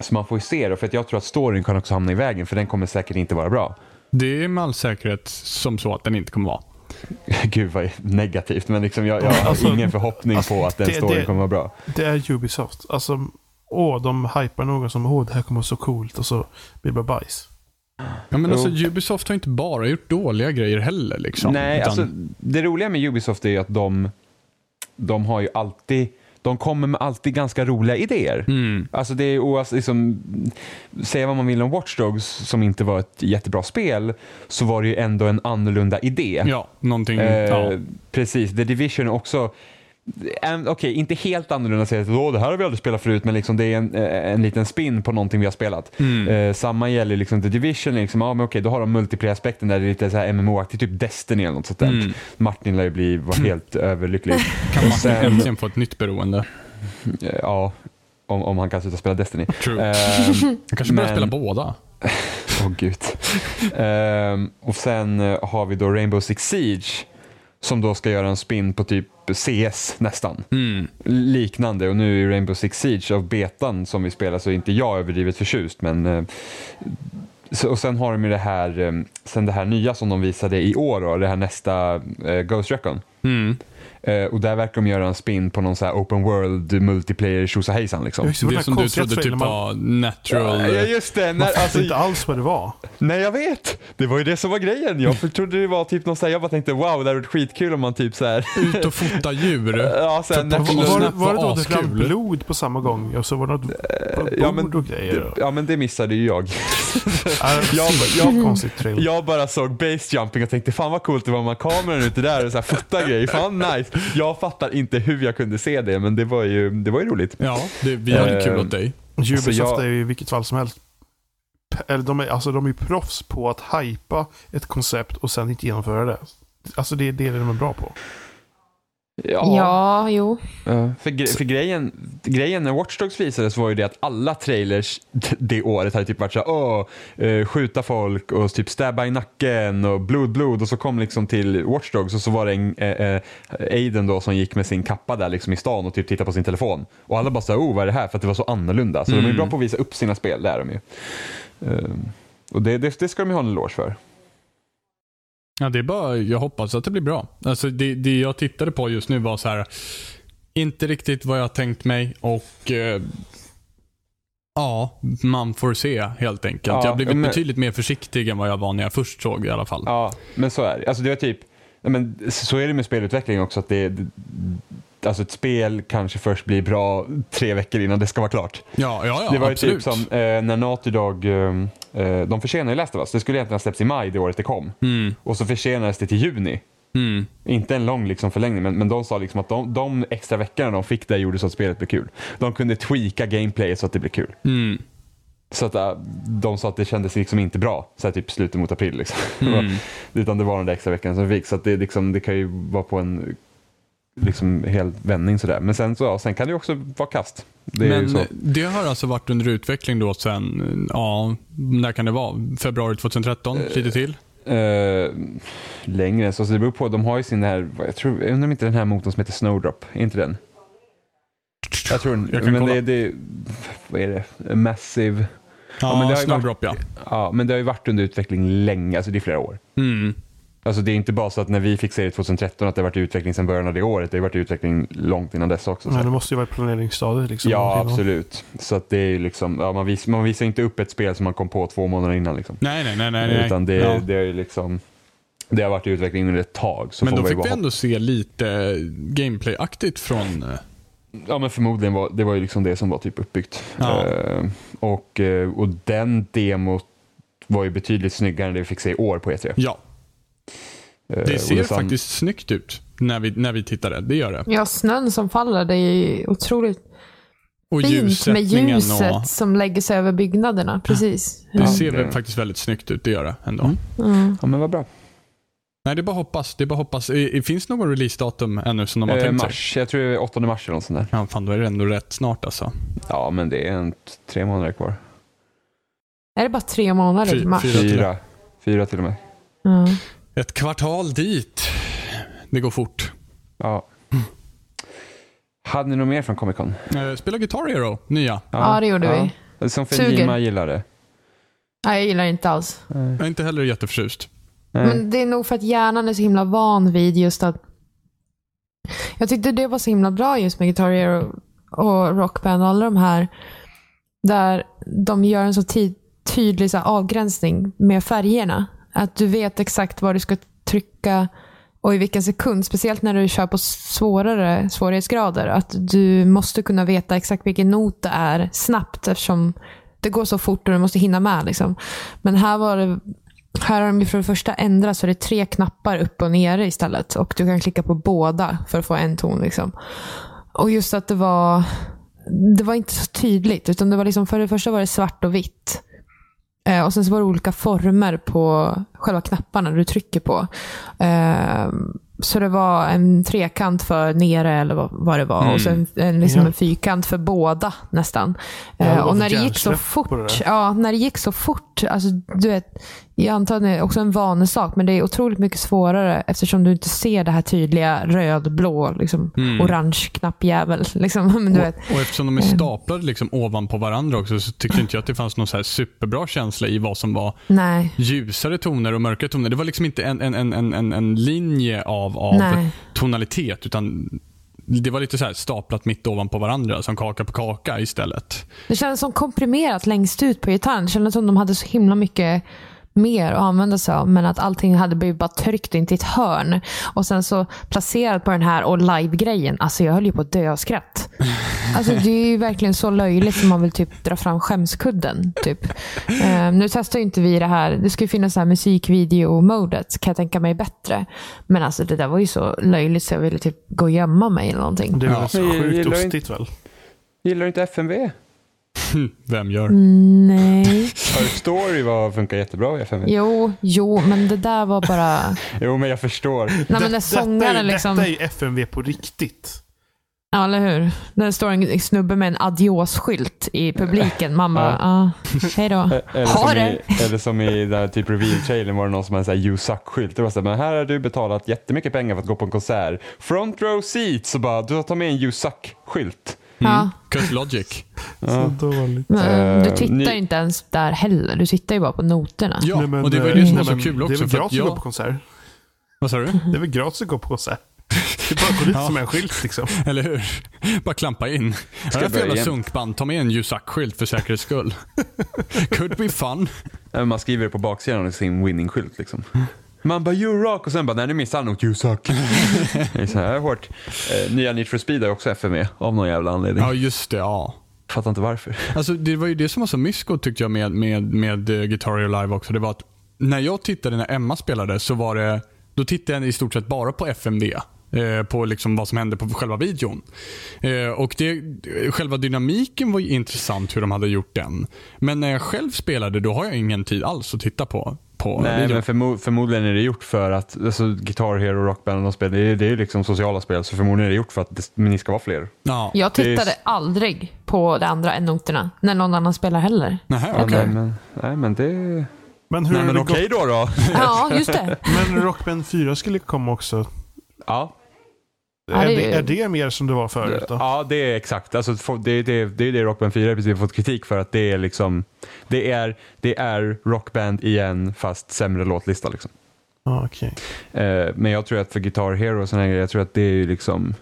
Speaker 4: så man får ju se då, för att jag tror att storyn kan också hamna i vägen för den kommer säkert inte vara bra.
Speaker 2: Det är med all säkerhet som så att den inte kommer vara.
Speaker 4: Gud vad negativt, men liksom jag, jag har
Speaker 1: Alltså,
Speaker 4: ingen förhoppning på att den
Speaker 1: det-
Speaker 4: storyn
Speaker 1: det-
Speaker 4: kommer vara bra.
Speaker 1: Det är Ubisoft. Alltså, åh, de hypar någon som åh, det här kommer vara så coolt och så blir det bara bajs.
Speaker 2: Ja, men
Speaker 4: Jo.
Speaker 2: alltså, Ubisoft har inte bara gjort dåliga grejer heller. Liksom,
Speaker 4: Nej,
Speaker 2: Utan-
Speaker 4: alltså det roliga med Ubisoft är ju att de, de har ju alltid, de kommer med alltid ganska roliga idéer.
Speaker 2: Mm.
Speaker 4: Alltså det är oavs- liksom, säga vad man vill om Watch Dogs som inte var ett jättebra spel, så var det ju ändå en annorlunda idé.
Speaker 2: Ja, någonting...
Speaker 4: Eh,
Speaker 2: Mm, ja.
Speaker 4: Precis, The Division är också en- Okej, inte helt annorlunda säger jag att "Åh, det här har vi aldrig spelat förut, men liksom det är en, eh, en liten spin på någonting vi har spelat.
Speaker 2: Mm.
Speaker 4: Eh, samma gäller liksom The Division, liksom, ja, men okej, då har de multiplayer-aspekten där det är lite så här MMO-aktigt, typ Destiny eller något sånt där.
Speaker 2: Mm.
Speaker 4: Martin lär ju bli var helt överlycklig. Eh,
Speaker 2: Kan man
Speaker 4: sen-
Speaker 2: äntligen få ett nytt beroende?
Speaker 4: Eh, ja, om, om han kan sluta spela Destiny.
Speaker 2: True.
Speaker 4: Ehm,
Speaker 2: Jag kanske börjar
Speaker 4: men-
Speaker 2: spela båda.
Speaker 4: Åh gud. Ehm, och sen eh, har vi då Rainbow Six Siege som då ska göra en spin på typ CS nästan.
Speaker 2: Mm.
Speaker 4: Liknande och nu i Rainbow Six Siege av betan som vi spelar så är inte jag överdrivet förtjust men eh, så, och sen har de ju det här, eh, sen det här nya som de visade i år då, det här nästa eh, Ghost Recon.
Speaker 2: Mm.
Speaker 4: Eh, och där verkar de göra en spin på någon så här open world multiplayer tjosahejsan liksom.
Speaker 1: Jag såg den
Speaker 2: Det
Speaker 1: här
Speaker 2: som du
Speaker 1: konstiga
Speaker 2: trodde typ
Speaker 1: trailern, man-
Speaker 2: var natural...
Speaker 4: Ja just det, när,
Speaker 1: Man fattar
Speaker 4: alltså,
Speaker 1: inte alls vad det var.
Speaker 4: Nej jag vet! Det var ju det som var grejen. Jag för- trodde det var typ någon så här, jag bara tänkte wow det hade varit skitkul om man typ så här.
Speaker 2: Ut och fota djur.
Speaker 4: Ja, så här,
Speaker 1: Var,
Speaker 4: National-
Speaker 1: var, det-
Speaker 2: Snap
Speaker 1: var det då
Speaker 2: var
Speaker 1: det rann
Speaker 2: askul. Eh,
Speaker 1: blod på samma gång? Och så var det något b-
Speaker 4: ja, men-
Speaker 1: bord och grejer. och-
Speaker 4: ja men det missade ju jag.
Speaker 1: Ja,
Speaker 4: jag-
Speaker 1: jag, konstigt trailer.
Speaker 4: Jag bara såg base jumping och tänkte fan vad coolt det var med kameran ute där och så här, fota grejer. Fan nice. Jag fattar inte hur jag kunde se det men det var ju, det var ju roligt.
Speaker 2: Ja, det, vi hade kul
Speaker 4: Eh,
Speaker 2: åt dig.
Speaker 1: Ubisoft
Speaker 4: Alltså, jag-
Speaker 1: är ju i vilket fall som helst p- eller de är, alltså de är ju proffs på att hypa ett koncept och sen inte genomföra det. Alltså det är det de är bra på.
Speaker 3: Ja, jo.
Speaker 4: Eh, För, gre- för grejen, grejen när Watch Dogs visades var ju det att alla trailers d- det året hade typ varit såhär, åh, eh, skjuta folk och typ stabba i nacken och blod, blod och så kom liksom till Watch Dogs och så var det en, eh, eh, Aiden då som gick med sin kappa där liksom i stan och typ tittade på sin telefon. Och alla bara såhär, oh vad är det här? För att det var så annorlunda. Så de är ju bra på att visa upp sina spel, det är de ju. Eh, och det, det, det ska de ju ha en eloge för.
Speaker 2: Ja, det är bara, jag hoppas att det blir bra. Alltså, det, det jag tittade på just nu var så här. Inte riktigt vad jag tänkt mig och eh, Ja, man får se helt enkelt.
Speaker 4: Ja,
Speaker 2: jag har blivit
Speaker 4: men-
Speaker 2: betydligt mer försiktig än vad jag var när jag först såg det i alla fall.
Speaker 4: Ja, men så är det. Alltså det var typ, ja, men så är det med spelutveckling också. Att det, det, alltså ett spel kanske först blir bra tre veckor innan det ska vara klart.
Speaker 2: Ja, ja, ja
Speaker 4: det var ju
Speaker 2: absolut.
Speaker 4: typ som eh, när Naughty Dog, eh, eh, de försenade ju Last of Us. Det skulle egentligen ha släppts i maj det året det kom.
Speaker 2: Mm,
Speaker 4: Och så försenades det till juni.
Speaker 2: mm.
Speaker 4: Inte en lång liksom, förlängning, men, men de sa liksom att de, de extra veckorna de fick där gjorde så att spelet blev kul. De kunde tweaka gameplayet så att det blev kul.
Speaker 2: Mm.
Speaker 4: Så att äh, de sa att det kändes liksom inte bra, så här typ slutet mot april. Liksom.
Speaker 2: Mm.
Speaker 4: Utan det var den där extra veckan som vi fick. Så att det, liksom, det kan ju vara på en liksom, hel vändning sådär. Men sen, så, ja, sen kan det ju också vara kast. Det är ju
Speaker 2: Men
Speaker 4: så.
Speaker 2: det har alltså varit under utveckling då sen, ja, när kan det vara? Februari 2013? lite till?
Speaker 4: Eh, längre än så. Så det beror på. De har ju sin här, vad jag, tror, jag undrar om inte den här motorn som heter Snowdrop, är inte den? Jag tror
Speaker 2: Jag kan
Speaker 4: men
Speaker 2: kolla.
Speaker 4: det, det, vad är det? Massive.
Speaker 2: Ja,
Speaker 4: men det har ju varit-
Speaker 2: Snowdrop ja.
Speaker 4: Ja, men det har ju varit under utveckling länge, alltså det är flera år.
Speaker 2: Mm.
Speaker 4: Alltså det är inte bara så att när vi fick serien 2013 att det har varit i utveckling sedan början av det året. Det har varit i utveckling långt innan dess också. så
Speaker 1: Nej,
Speaker 4: att-
Speaker 1: det måste ju vara i planeringsstadiet. Liksom,
Speaker 4: Ja,
Speaker 1: Någonting.
Speaker 4: absolut. Så att det är ju liksom, ja, man, visar, man visar inte upp ett spel som man kom på två månader innan. Liksom.
Speaker 2: Nej, nej, nej. nej, nej.
Speaker 4: Utan det,
Speaker 2: ja.
Speaker 4: det är ju liksom, det har varit i utveckling under ett tag. Så
Speaker 2: men
Speaker 4: får
Speaker 2: då
Speaker 4: man ju
Speaker 2: fick
Speaker 4: bara
Speaker 2: vi ändå se lite gameplay-aktigt från... eh,
Speaker 4: Ja men förmodligen var det var ju liksom det som var typ uppbyggt.
Speaker 2: Ja.
Speaker 4: Eh, och, eh, och den demot var ju betydligt snyggare än det vi fick se i år på E3.
Speaker 2: Ja,
Speaker 4: Eh,
Speaker 2: det
Speaker 4: och
Speaker 2: ser
Speaker 4: detsamma-
Speaker 2: faktiskt snyggt ut när vi, när vi tittade. Det gör det.
Speaker 3: Ja, snön som faller, det är otroligt
Speaker 2: Och
Speaker 3: fint med
Speaker 2: ljussättningen
Speaker 3: ljuset
Speaker 2: och...
Speaker 3: som lägger sig över byggnaderna. Precis.
Speaker 2: Det
Speaker 3: Ja.
Speaker 2: ser
Speaker 4: det-
Speaker 2: väl faktiskt väldigt snyggt ut, det gör det ändå.
Speaker 4: Mm.
Speaker 3: Mm.
Speaker 4: Ja men vad bra.
Speaker 2: Nej, det är bara hoppas. Det är bara hoppas. I- i- Finns det någon releasedatum ännu som de har
Speaker 4: Eh,
Speaker 2: tänkt sig?
Speaker 4: mars, jag tror det är 8 mars eller något sånt där.
Speaker 2: Ja, fan, då är det ändå rätt snart alltså.
Speaker 4: Ja men det är en, tre månader kvar.
Speaker 3: Är det bara tre månader
Speaker 2: Fy-
Speaker 3: till mars?
Speaker 2: Fyra till och med.
Speaker 4: Fyra. Fyra till och med.
Speaker 3: Ja.
Speaker 2: Ett kvartal dit. Det går fort.
Speaker 4: Ja. Hade ni något mer från Comic Con?
Speaker 2: Eh, Spela Guitar Hero, nya.
Speaker 3: Ja, det gjorde vi.
Speaker 4: vi. Som
Speaker 3: Suger.
Speaker 4: Fejima gillade.
Speaker 3: Nej, jag gillar det inte alls.
Speaker 2: Jag är inte heller jätteförtjust.
Speaker 4: Nej.
Speaker 3: Men det är nog för att hjärnan är så himla van vid just att... Jag tyckte det var så himla bra just med Guitar Hero och Rockband och alla de här. Där de gör en så ti- tydlig så här, avgränsning med färgerna. Att du vet exakt vad du ska trycka och i vilken sekund. Speciellt när du kör på svårare svårighetsgrader. Att du måste kunna veta exakt vilken not det är snabbt eftersom det går så fort och du måste hinna med. Liksom. Men här var det här har de ju för det första ändrat så det är tre knappar upp och nere istället. Och du kan klicka på båda för att få en ton. Liksom. Och just att det var, det var inte så tydligt. Utan det var liksom, för det första var det svart och vitt. Eh, och sen så var det olika former på själva knapparna du trycker på. Eh, så det var en trekant för nere eller vad, vad det var.
Speaker 2: Mm.
Speaker 3: Och sen en, liksom
Speaker 1: Ja.
Speaker 3: en fyrkant för båda nästan.
Speaker 1: Ja, det
Speaker 3: Eh,
Speaker 1: var
Speaker 3: och
Speaker 1: för
Speaker 3: när det gick så
Speaker 1: hjärnsläpp på det
Speaker 3: fort, ja, när det gick så fort, alltså, du vet, jag antar att det är också en vanesak, men det är otroligt mycket svårare eftersom du inte ser det här tydliga röd, blå, liksom,
Speaker 2: Mm.
Speaker 3: orange knappjävel. Liksom, men du vet. Mm.
Speaker 2: Och eftersom de är staplade liksom ovanpå varandra också så tyckte inte jag att det fanns någon så här superbra känsla i vad som var
Speaker 3: Nej.
Speaker 2: ljusare toner och mörkare toner. Det var liksom inte en, en, en, en, en, en linje av, av
Speaker 3: Nej.
Speaker 2: tonalitet utan det var lite så här staplat mitt ovanpå varandra som kaka på kaka istället.
Speaker 3: Det kändes som komprimerat längst ut på gitarren. Det kändes som de hade så himla mycket mer att använda sig av. Men att allting hade blivit bara tryckt in till ett hörn. Och sen så placerat på den här och live-grejen. Alltså jag höll ju på att dö av skratt. Alltså det är ju verkligen så löjligt som man vill typ dra fram skämskudden. Typ. Ehm, nu testar ju inte vi det här. Det ska ju finnas det här musikvideo-modet kan jag tänka mig bättre. Men alltså det där var ju så löjligt så jag ville typ gå och gömma mig eller någonting.
Speaker 1: Det är väl
Speaker 2: Ja.
Speaker 4: Men jag
Speaker 1: sjukt
Speaker 4: gillar ju
Speaker 1: ostigt väl?
Speaker 4: Gillar du inte FMV?
Speaker 2: Hm, Vem gör?
Speaker 3: Mm, nej.
Speaker 4: Her Story var, funkar jättebra i FMV.
Speaker 3: Jo, jo, men det där var bara...
Speaker 4: Jo men jag förstår.
Speaker 3: Nej, men när
Speaker 1: Det- detta, är,
Speaker 3: sångaren
Speaker 1: detta
Speaker 3: liksom...
Speaker 1: är ju FMV på riktigt.
Speaker 3: Ja, eller hur? När det står en snubbe med en adios-skylt i publiken. Man bara, ja, hej då.
Speaker 4: Eh, Eller
Speaker 3: Ha
Speaker 4: som, i,
Speaker 3: det.
Speaker 4: eller som i den här typ reveal-trailern var det någon som hade en sån här you suck-skylt. Det var så här, men här har du betalat jättemycket pengar för att gå på en konsert. Front row seat, så bara du tar med en you suck-skylt.
Speaker 3: Ja.
Speaker 2: Cut Logic.
Speaker 1: Så dåligt.
Speaker 3: Men, du
Speaker 4: Eh,
Speaker 3: tittar
Speaker 4: ni-
Speaker 3: inte ens där heller. Du tittar ju bara på noterna.
Speaker 2: Ja,
Speaker 1: Nej, men,
Speaker 2: och det var ju
Speaker 1: eh,
Speaker 2: det som
Speaker 1: nej,
Speaker 2: var så
Speaker 1: men
Speaker 2: kul
Speaker 1: Det är
Speaker 2: också.
Speaker 1: väl
Speaker 2: För att
Speaker 1: gratis att gå
Speaker 2: jag,
Speaker 1: på Mm. konsert?
Speaker 2: vad sa du?
Speaker 1: Det är väl gratis att gå på konsert? Det är bara att gå dit
Speaker 2: Ja.
Speaker 1: som en skylt liksom.
Speaker 2: Eller hur? Bara klampa in. Ska
Speaker 4: jag
Speaker 2: jag
Speaker 4: börja
Speaker 2: jävla
Speaker 4: igen?
Speaker 2: sunkband? Ta med en Yusak-skylt för säkerhets skull. Could be fun.
Speaker 4: Nej, men Man skriver det på baksidan av sin winning-skylt liksom. Man bara you rock och sen bara nej nu missade han nog you suck. det är så här hårt. Eh, nya Need for Speed är också FME av någon jävla anledning.
Speaker 2: Ja, just det. Ja.
Speaker 4: Fattar inte varför.
Speaker 2: Alltså, det var ju det som var så mysko tyckte jag med, med, med eh, Guitar Hero Live också. Det var att när jag tittade när Emma spelade så var det, då tittade jag i stort sett bara på FMV. eh, På liksom vad som hände på själva videon. Eh, Och det, själva dynamiken var ju intressant hur de hade gjort den. Men när jag själv spelade då har jag ingen tid alls att titta på, på
Speaker 4: Nej,
Speaker 2: videon.
Speaker 4: men förmo- förmodligen är det gjort för att alltså, Guitar Hero, Rockband och spel, det är, det är liksom sociala spel så förmodligen är det gjort för att det, men ni ska vara fler.
Speaker 2: Ja.
Speaker 3: Jag
Speaker 4: Det är-
Speaker 3: tittade aldrig på de andra än noterna när någon annan spelar heller.
Speaker 2: Nähä,
Speaker 4: Ja,
Speaker 2: okej.
Speaker 4: Nej, men, nej men det...
Speaker 1: Men hur
Speaker 4: Nej,
Speaker 1: har
Speaker 4: men
Speaker 1: det
Speaker 4: okej då då.
Speaker 3: Ja, just det.
Speaker 1: gått? Men Rockband 4 skulle komma också.
Speaker 4: ja,
Speaker 3: Ja,
Speaker 1: är,
Speaker 3: det är
Speaker 1: det,
Speaker 3: ju-
Speaker 1: är det mer som det var förut då?
Speaker 4: ja, det är exakt. Alltså, få- det, det, det är det Rockband 4 i princip fått kritik för att det är liksom... Det är, det är Rockband igen fast sämre låtlista liksom.
Speaker 1: Ja, okej.
Speaker 4: Eh, men jag tror att för Guitar Hero och sådana grejer, jag tror att det är ju liksom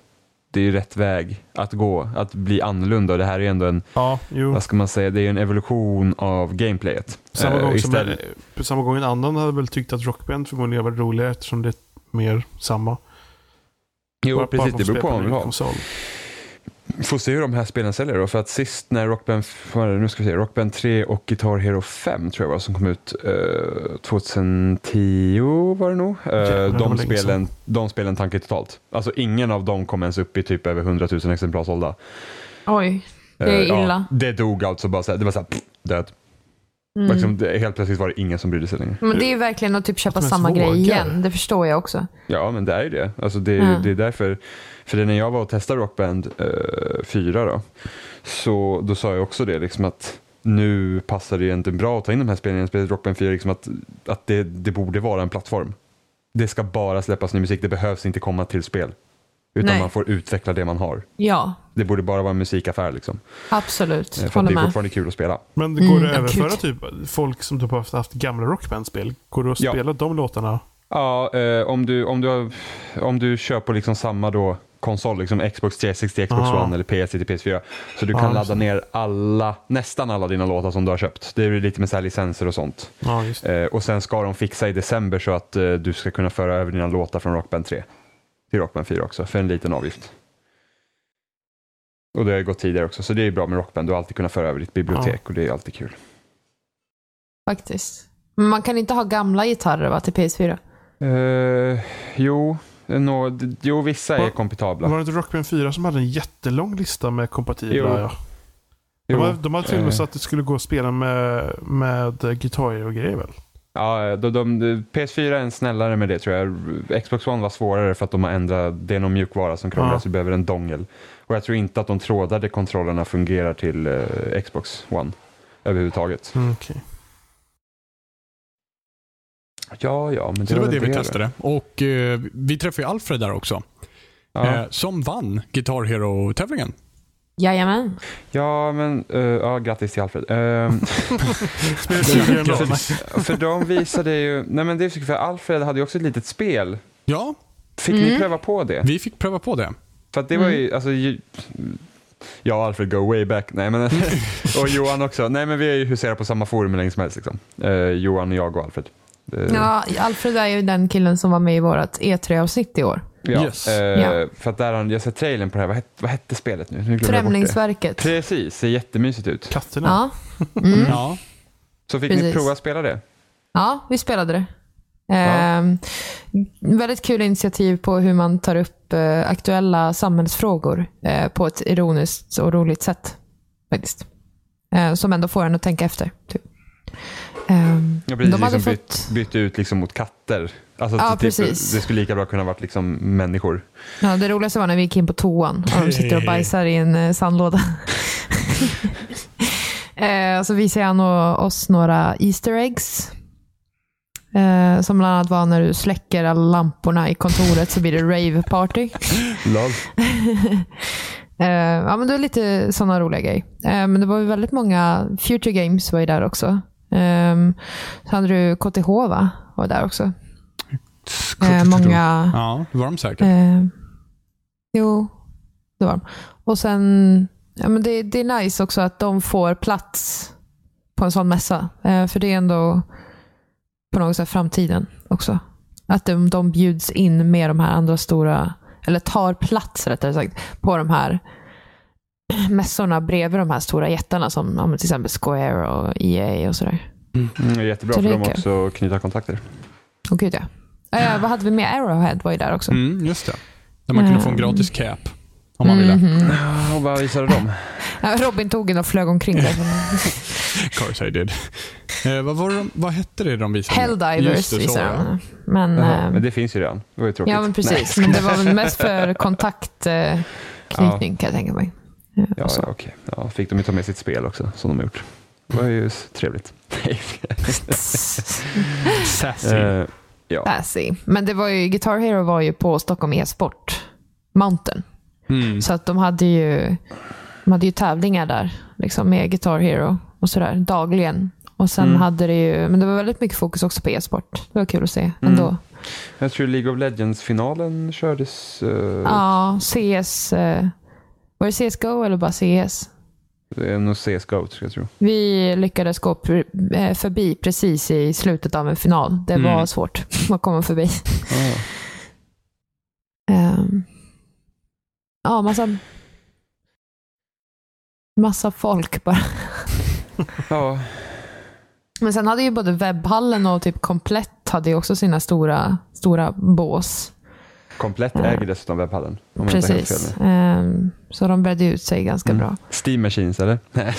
Speaker 4: det är ju rätt väg att gå, att bli annorlunda. Och Det här är ändå en,
Speaker 1: Ja, jo.
Speaker 4: vad ska man säga, det är ju en evolution av gameplayet.
Speaker 1: Samma
Speaker 4: Eh,
Speaker 1: gång, som,
Speaker 4: istället.
Speaker 1: på samma gång en annan hade väl tyckt att Rockband förmodligen var roligare eftersom det är mer samma.
Speaker 4: Jo, precis. Det beror på vad man vill ha.
Speaker 1: Konsol.
Speaker 4: Får se hur de här spelen säljer då. För att sist när Rockband, f- vad är det, nu ska vi se, Rockband 3 och Guitar Hero 5 tror jag var som kom ut eh, 2010 var det nog. Eh,
Speaker 1: Jävlar, det var
Speaker 4: de,
Speaker 1: länge
Speaker 4: spelen, de spelen tankade totalt. Alltså ingen av dem kom ens upp i typ över 100 000 exemplar sålda.
Speaker 3: Oj, det är
Speaker 4: Eh, ja,
Speaker 3: illa.
Speaker 4: det dog alltså bara så här, det var så här, pff, död. Liksom, det, helt plötsligt var det ingen som brydde sig längre.
Speaker 3: Mm. Men det är ju verkligen att typ köpa
Speaker 1: Att de ens
Speaker 3: samma
Speaker 1: vågar.
Speaker 3: grej igen. Det förstår jag också.
Speaker 4: Ja, men det är ju det. Alltså, det, är-
Speaker 3: Mm.
Speaker 4: det är därför. För det, när jag var och testade Rockband eh, 4 då, så då sa jag också det liksom att nu passar det egentligen bra att ta in de här spelen i en spel- Rockband 4, liksom att, att det, det borde vara en plattform. Det ska bara släppas ny musik, det behövs inte komma till spel. Utan
Speaker 3: Nej.
Speaker 4: man får utveckla det man har.
Speaker 3: Ja,
Speaker 4: Det borde bara vara en musikaffär liksom.
Speaker 3: absolut.
Speaker 4: Eh, För att det
Speaker 3: Håller
Speaker 4: är
Speaker 3: med.
Speaker 4: fortfarande kul att spela.
Speaker 1: Men går
Speaker 3: Mm,
Speaker 1: det att överföra
Speaker 3: akut.
Speaker 1: typ folk som typ har haft, haft gamla Rockband-spel? Går det att
Speaker 4: Ja.
Speaker 1: spela de låtarna?
Speaker 4: Ja, eh, om, du, om, du, har- om du kör på liksom samma då konsol, liksom Xbox 360, Xbox
Speaker 1: Ah.
Speaker 4: One eller PS3 till PS4. Så du
Speaker 1: Ah, just
Speaker 4: kan ladda
Speaker 1: det.
Speaker 4: ner alla, nästan alla dina låtar som du har köpt. Det är ju lite med så här licenser och sånt.
Speaker 1: Ja, just det.
Speaker 4: Eh, och sen ska de fixa i december så att eh, du ska kunna föra över dina låtar från Rockband 3 till Rockband 4 också, för en liten avgift. Och det har ju gått tidigare också, så det är ju bra med Rockband. Du har alltid kunnat föra över ditt bibliotek och det är alltid kul.
Speaker 3: Faktiskt. Men man kan inte ha gamla gitarrer va, till PS4?
Speaker 4: Eh, jo, nå- d- jo, vissa är
Speaker 1: Va-
Speaker 4: kompatibla.
Speaker 1: Var det inte Rockband 4 som hade en jättelång lista med
Speaker 4: Jo.
Speaker 1: kompatibla? Ja. De,
Speaker 4: Jo.
Speaker 1: har, de har till och med
Speaker 4: eh.
Speaker 1: så att det skulle gå att spela med, med gitarrer och grejer väl?
Speaker 4: Ja, de, de, PS4 är en snällare med det tror jag. Xbox One var svårare för att de har ändrat, det är någon mjukvara som krånglar
Speaker 1: Ja.
Speaker 4: så du behöver en dongel. Och jag tror inte att de trådade kontrollerna fungerar till eh, Xbox One överhuvudtaget.
Speaker 1: Mm, okej.
Speaker 4: Ja, ja, men det,
Speaker 2: Så det var
Speaker 4: väl
Speaker 2: det vi testade. Och eh, Vi träffade ju Alfred där också.
Speaker 4: Ja,
Speaker 2: Eh, som vann Guitar Hero-tävlingen.
Speaker 3: Jajamän.
Speaker 4: ja men eh, ja, grattis till Alfred. Ehm,
Speaker 1: Spelar tydligen då.
Speaker 4: för de visade ju, nej men det är så kul, för Alfred hade ju också ett litet spel.
Speaker 2: Ja,
Speaker 4: Fick ni
Speaker 3: Mm.
Speaker 4: pröva på det?
Speaker 2: vi fick pröva på det.
Speaker 4: För att det var ju, alltså, ju, jag och Alfred go way back, nej men,
Speaker 3: Mm.
Speaker 4: och Johan också. Nej men vi är ju huserat på samma forum hur länge som helst liksom. Eh, Johan, och jag och Alfred. Eh,
Speaker 3: Ja, Alfred är ju den killen som var med i vårt E3-avsnitt i år.
Speaker 4: ja,
Speaker 2: Yes.
Speaker 4: eh,
Speaker 3: Ja.
Speaker 4: För att där har, jag sett trailern på det här, vad hette, vad hette spelet nu? nu glömde jag bort det.
Speaker 3: Främlingsverket.
Speaker 4: Precis, ser jättemysigt ut.
Speaker 1: Katterna.
Speaker 3: Ja. Mm.
Speaker 2: Ja.
Speaker 4: Så fick ni
Speaker 3: Precis.
Speaker 4: prova att spela det?
Speaker 3: Ja, vi spelade det.
Speaker 4: Ja.
Speaker 3: Ehm, väldigt kul initiativ på hur man tar upp eh, aktuella samhällsfrågor eh, på ett ironiskt och roligt sätt. Faktiskt. Eh, som ändå får en att tänka efter. Typ. Ehm,
Speaker 4: Ja, precis,
Speaker 3: de hade
Speaker 4: liksom
Speaker 3: fått...
Speaker 4: bytt, bytt ut liksom mot katter. Alltså,
Speaker 3: Ja,
Speaker 4: så typ, det
Speaker 3: precis.
Speaker 4: skulle lika bra kunna varit liksom människor.
Speaker 3: Ja, det roligaste var när vi gick in på toan och de sitter och bajsar i en eh, sandlåda. eh, så visade han och- oss några Easter eggs. Eh, som bland annat var när du släcker alla lamporna i kontoret så blir det rave-party.
Speaker 4: Lol.
Speaker 3: Eh, ja, men det var lite sådana roliga grejer. Eh, men det var ju väldigt många, Future Games var ju där också. Ehm, så hade du KTH va? Var där också. Eh, många,
Speaker 2: typ. Ja, det var de säkert.
Speaker 3: eh, Jo, det var de. Och sen, ja, men det, det är nice också att de får plats på en sån mässa. Eh, för det är ändå på något sätt framtiden också. Att de, de bjuds in med de här andra stora, eller tar plats rättare sagt, på de här mässorna bredvid de här stora jättarna som ja, men till exempel Square och EA och sådär.
Speaker 4: Mm, det är jättebra
Speaker 3: Så
Speaker 4: för
Speaker 3: det är
Speaker 4: dem
Speaker 3: kul.
Speaker 4: också att knyta kontakter.
Speaker 3: Och gud ja. Eh, vad hade vi med? Arrowhead var ju där också.
Speaker 2: Mm, just det. Där man kunde få en
Speaker 3: Eh.
Speaker 2: gratis cap om man ville.
Speaker 3: Mhm.
Speaker 4: Och vad visade de?
Speaker 3: Ja, Robin tog en och flög omkring där.
Speaker 2: course I did. Eh, vad, var de, vad hette det de visade? Just
Speaker 3: Helldivers
Speaker 2: det, så
Speaker 3: visade
Speaker 2: var det.
Speaker 3: de. Men,
Speaker 4: Jaha,
Speaker 3: eh,
Speaker 4: men det finns ju redan. Det var ju tråkigt.
Speaker 3: ja, men precis. Men det var väl mest för kontaktknytning knytning kan jag tänka mig. Eh,
Speaker 4: Ja,
Speaker 3: och så.
Speaker 4: ja okej. Ja, fick de ju ta med sitt spel också, som de har gjort. Det var ju s- trevligt.
Speaker 2: Sassy.
Speaker 4: Eh, ja.
Speaker 3: Sassy. Men det var ju, Guitar Hero var ju på Stockholm e-sport Mountain.
Speaker 2: Mm.
Speaker 3: Så att de hade ju, de hade ju tävlingar där liksom med Guitar Hero och sådär dagligen. Och sen
Speaker 4: Mm.
Speaker 3: hade det ju, men det var väldigt mycket fokus också på e-sport. Det var kul att
Speaker 2: Mm.
Speaker 3: se ändå.
Speaker 4: Jag tror League of Legends-finalen kördes. eh,
Speaker 3: Ja, CS. eh, Var det CSGO eller bara CS?
Speaker 4: Det är nog CSGO, skulle jag tro.
Speaker 3: Vi lyckades gå pr- eh, förbi precis i slutet av en final. Det var
Speaker 2: Mm.
Speaker 3: svårt att komma förbi.
Speaker 4: Ah.
Speaker 3: Ehm, Ja, massa, massa folk bara.
Speaker 4: Ja,
Speaker 3: Men sen hade ju både webbhallen och typ komplett hade ju också sina stora, stora bås.
Speaker 4: komplett
Speaker 3: Ja.
Speaker 4: äger dessutom webbhallen. om jag inte har helt
Speaker 3: Precis.
Speaker 4: fel
Speaker 3: Ehm, Så de bredde ut sig ganska
Speaker 4: Mm.
Speaker 3: bra.
Speaker 4: nu. Steam Machines, eller? Nej,